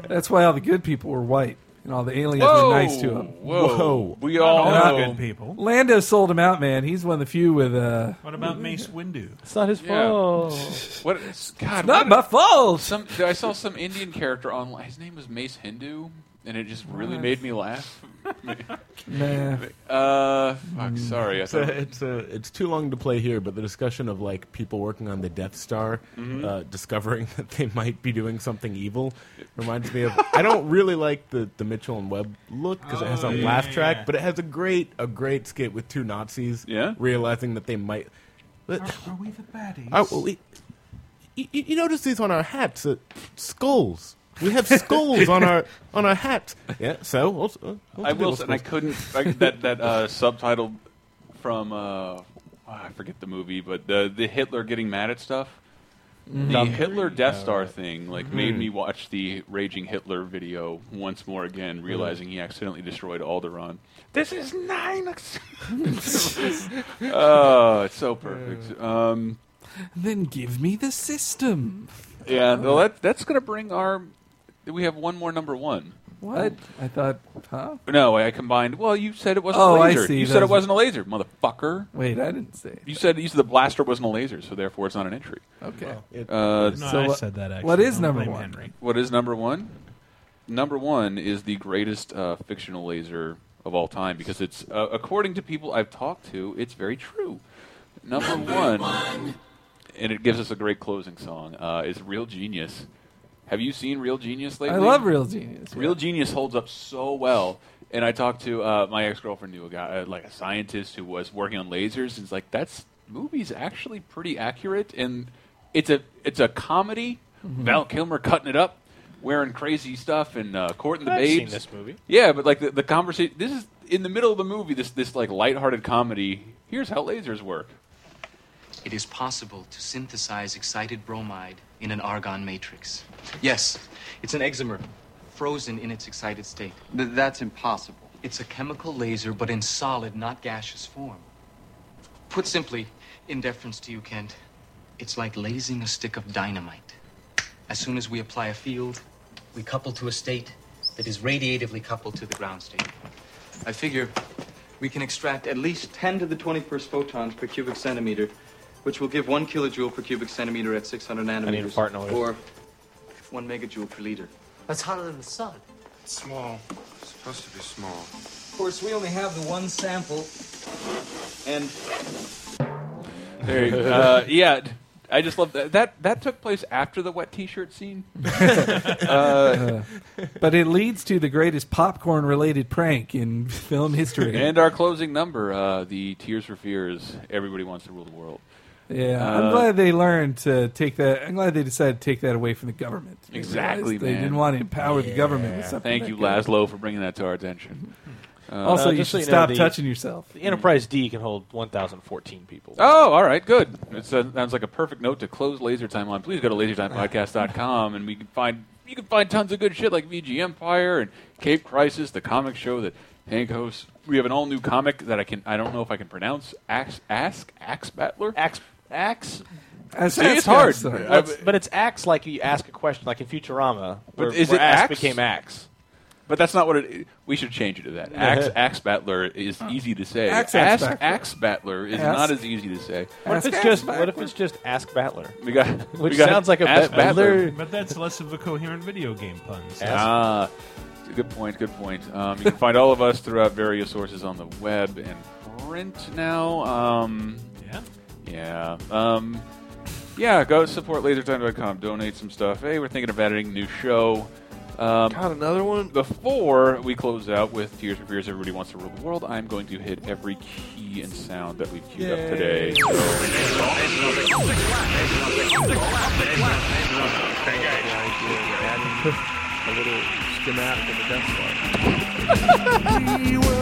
H: That's why all the good people were white, and all the aliens
I: Whoa,
H: were nice to him.
I: whoa.
E: We all
H: And,
E: know-
H: uh,
E: good people.
H: Lando sold him out, man. He's one of the few with. Uh,
G: What about Mace Windu?
I: It's not his
E: Yeah.
I: fault.
E: What? God,
H: not
E: what-
H: my fault.
E: Some I saw some Indian character online. His name was Mace Hindu, and it just really
F: What?
E: made me laugh.
F: Nah.
E: Uh, fuck. Sorry, I
F: it's a,
E: thought.
F: it's a, it's too long to play here. But the discussion of like people working on the Death Star,
E: Mhm.
F: uh, discovering that they might be doing something evil, reminds me of. I don't really like the the Mitchell and Webb look because it has
E: Oh,
F: a
E: yeah,
F: laugh
E: yeah,
F: track,
E: yeah.
F: but it has a great a great skit with two Nazis,
E: Yeah?
F: realizing that they might. But,
G: Are we the baddies?
F: Oh, well, we- you, you you notice these on our hats, uh, skulls. We have skulls on our on our hats. Yeah. So also, also
E: I will,
F: skulls.
E: and I couldn't. I, that that uh, subtitle from uh, I forget the movie, but the the Hitler getting mad at stuff.
I: Mhm.
E: The
I: Dumb.
E: Hitler Death Star thing like made
I: Mhm.
E: me watch the Raging Hitler video once more again, realizing he accidentally destroyed Alderaan. This is nine. oh, it's so perfect. Um,
H: then give me the system.
E: yeah, well, that that's gonna bring our. We have one more number one.
H: What? I thought, huh?
E: No, I combined. Well, you said it wasn't
H: Oh,
E: a
H: I
E: laser.
H: see.
E: You
H: That
E: said it
H: was-
E: wasn't a laser, motherfucker.
H: Wait, I didn't say it.
E: You said you said the blaster wasn't a laser, so therefore it's not an entry.
H: Okay. Well, it-
E: uh,
H: No, So I what- said that, actually. what is Don't number blame one? Henry.
E: What is number one? Number one is the greatest uh, fictional laser of all time because it's, uh, according to people I've talked to, it's very true. Number one, and it gives us a great closing song. Uh, is Real Genius. Have you seen Real Genius lately?
H: love Real Genius,
E: Real Genius holds up so well. And I talked to uh, my ex girlfriend knew a guy, uh, like a scientist who was working on lasers, and it's like that's movie's actually pretty accurate, and it's a it's a comedy.
I: Mhm.
E: Val Kilmer cutting it up, wearing crazy stuff, and uh, courting the
I: I've seen
E: babes.
I: this movie.
E: Yeah, but like the, the conversation. This is in the middle of the movie. This this like lighthearted comedy. Here's how lasers work.
A: It is possible to synthesize excited bromide in an argon matrix. Yes, it's an excimer, frozen in its excited state. Th- that's impossible. It's a chemical laser, but in solid, not gaseous form. Put simply, in deference to you, Kent, it's like lasing a stick of dynamite. As soon as we apply a field, we couple to a state that is radiatively coupled to the ground state. I figure we can extract at least 10 to the 21st photons per cubic centimeter, which will give one kilojoule per cubic centimeter at 600 nanometers.
I: need a partner with-
A: Or one megajoule per liter.
R: That's hotter than the sun.
A: Small. It's supposed to be small.
R: Of course, we only have the one sample, and
E: There you go. Uh, yeah, d- I just love that. That that took place after the wet T-shirt scene. uh,
H: but it leads to the greatest popcorn related prank in film history.
E: and our closing number, uh, the Tears for Fears. Everybody wants to rule the world.
H: yeah,
E: Uh,
H: I'm glad they learned to take that. I'm glad they decided to take that away from the government. They
E: Exactly,
H: realized They
E: man.
H: didn't want to empower the government with
E: Yeah.
H: something.
E: Thank
H: that
E: you,
H: could-
E: Laszlo, for bringing that to our attention. Uh,
H: Also,
I: Uh,
H: you
I: just
H: should
I: so know,
H: stop
I: the-
H: touching yourself.
I: The Enterprise D can hold 1,014 people.
E: Oh, all right, good. It sounds sounds like a perfect note to close Laser Time on. Please go to lasertimepodcast.com and we can find you can find tons of good shit like VG Empire and Cape Crisis, the comic show that Hank Host. We have an all new comic that I can I don't know if I can pronounce. Axe Ask Axe Battler.
I: Axe Axe.
E: See, it's hard. I-
I: That's- but it's axe like you ask a question, like in Futurama,
E: But
I: where,
E: is
I: where
E: it
I: axe,
E: axe?
I: became axe.
E: But that's not what it. We should change it to that. Axe Axe Battler is easy to say.
I: Axe Axe
E: ask
I: Battler.
E: Axe Battler is
I: Ask-
E: not as easy to say.
I: What if it's just What if it's just ask Battler?
E: We got-
I: which
E: we got
I: sounds like a
E: Ask
I: ba-
E: Battler.
G: But that's less of a coherent video game pun. so-
E: Ah, good point. Good point. Um, you can find all of us throughout various sources on the web and print now. Um,
G: yeah.
E: Yeah. Um, yeah. Go support lasertime.com. Donate some stuff. Hey, we're thinking of adding a new show. Um, Got another one before we close out with Tears for Fears. Everybody wants to rule the world. I'm going to hit every key and sound that we've queued up today.
Y: A little schematic of the Death Star.
P: We were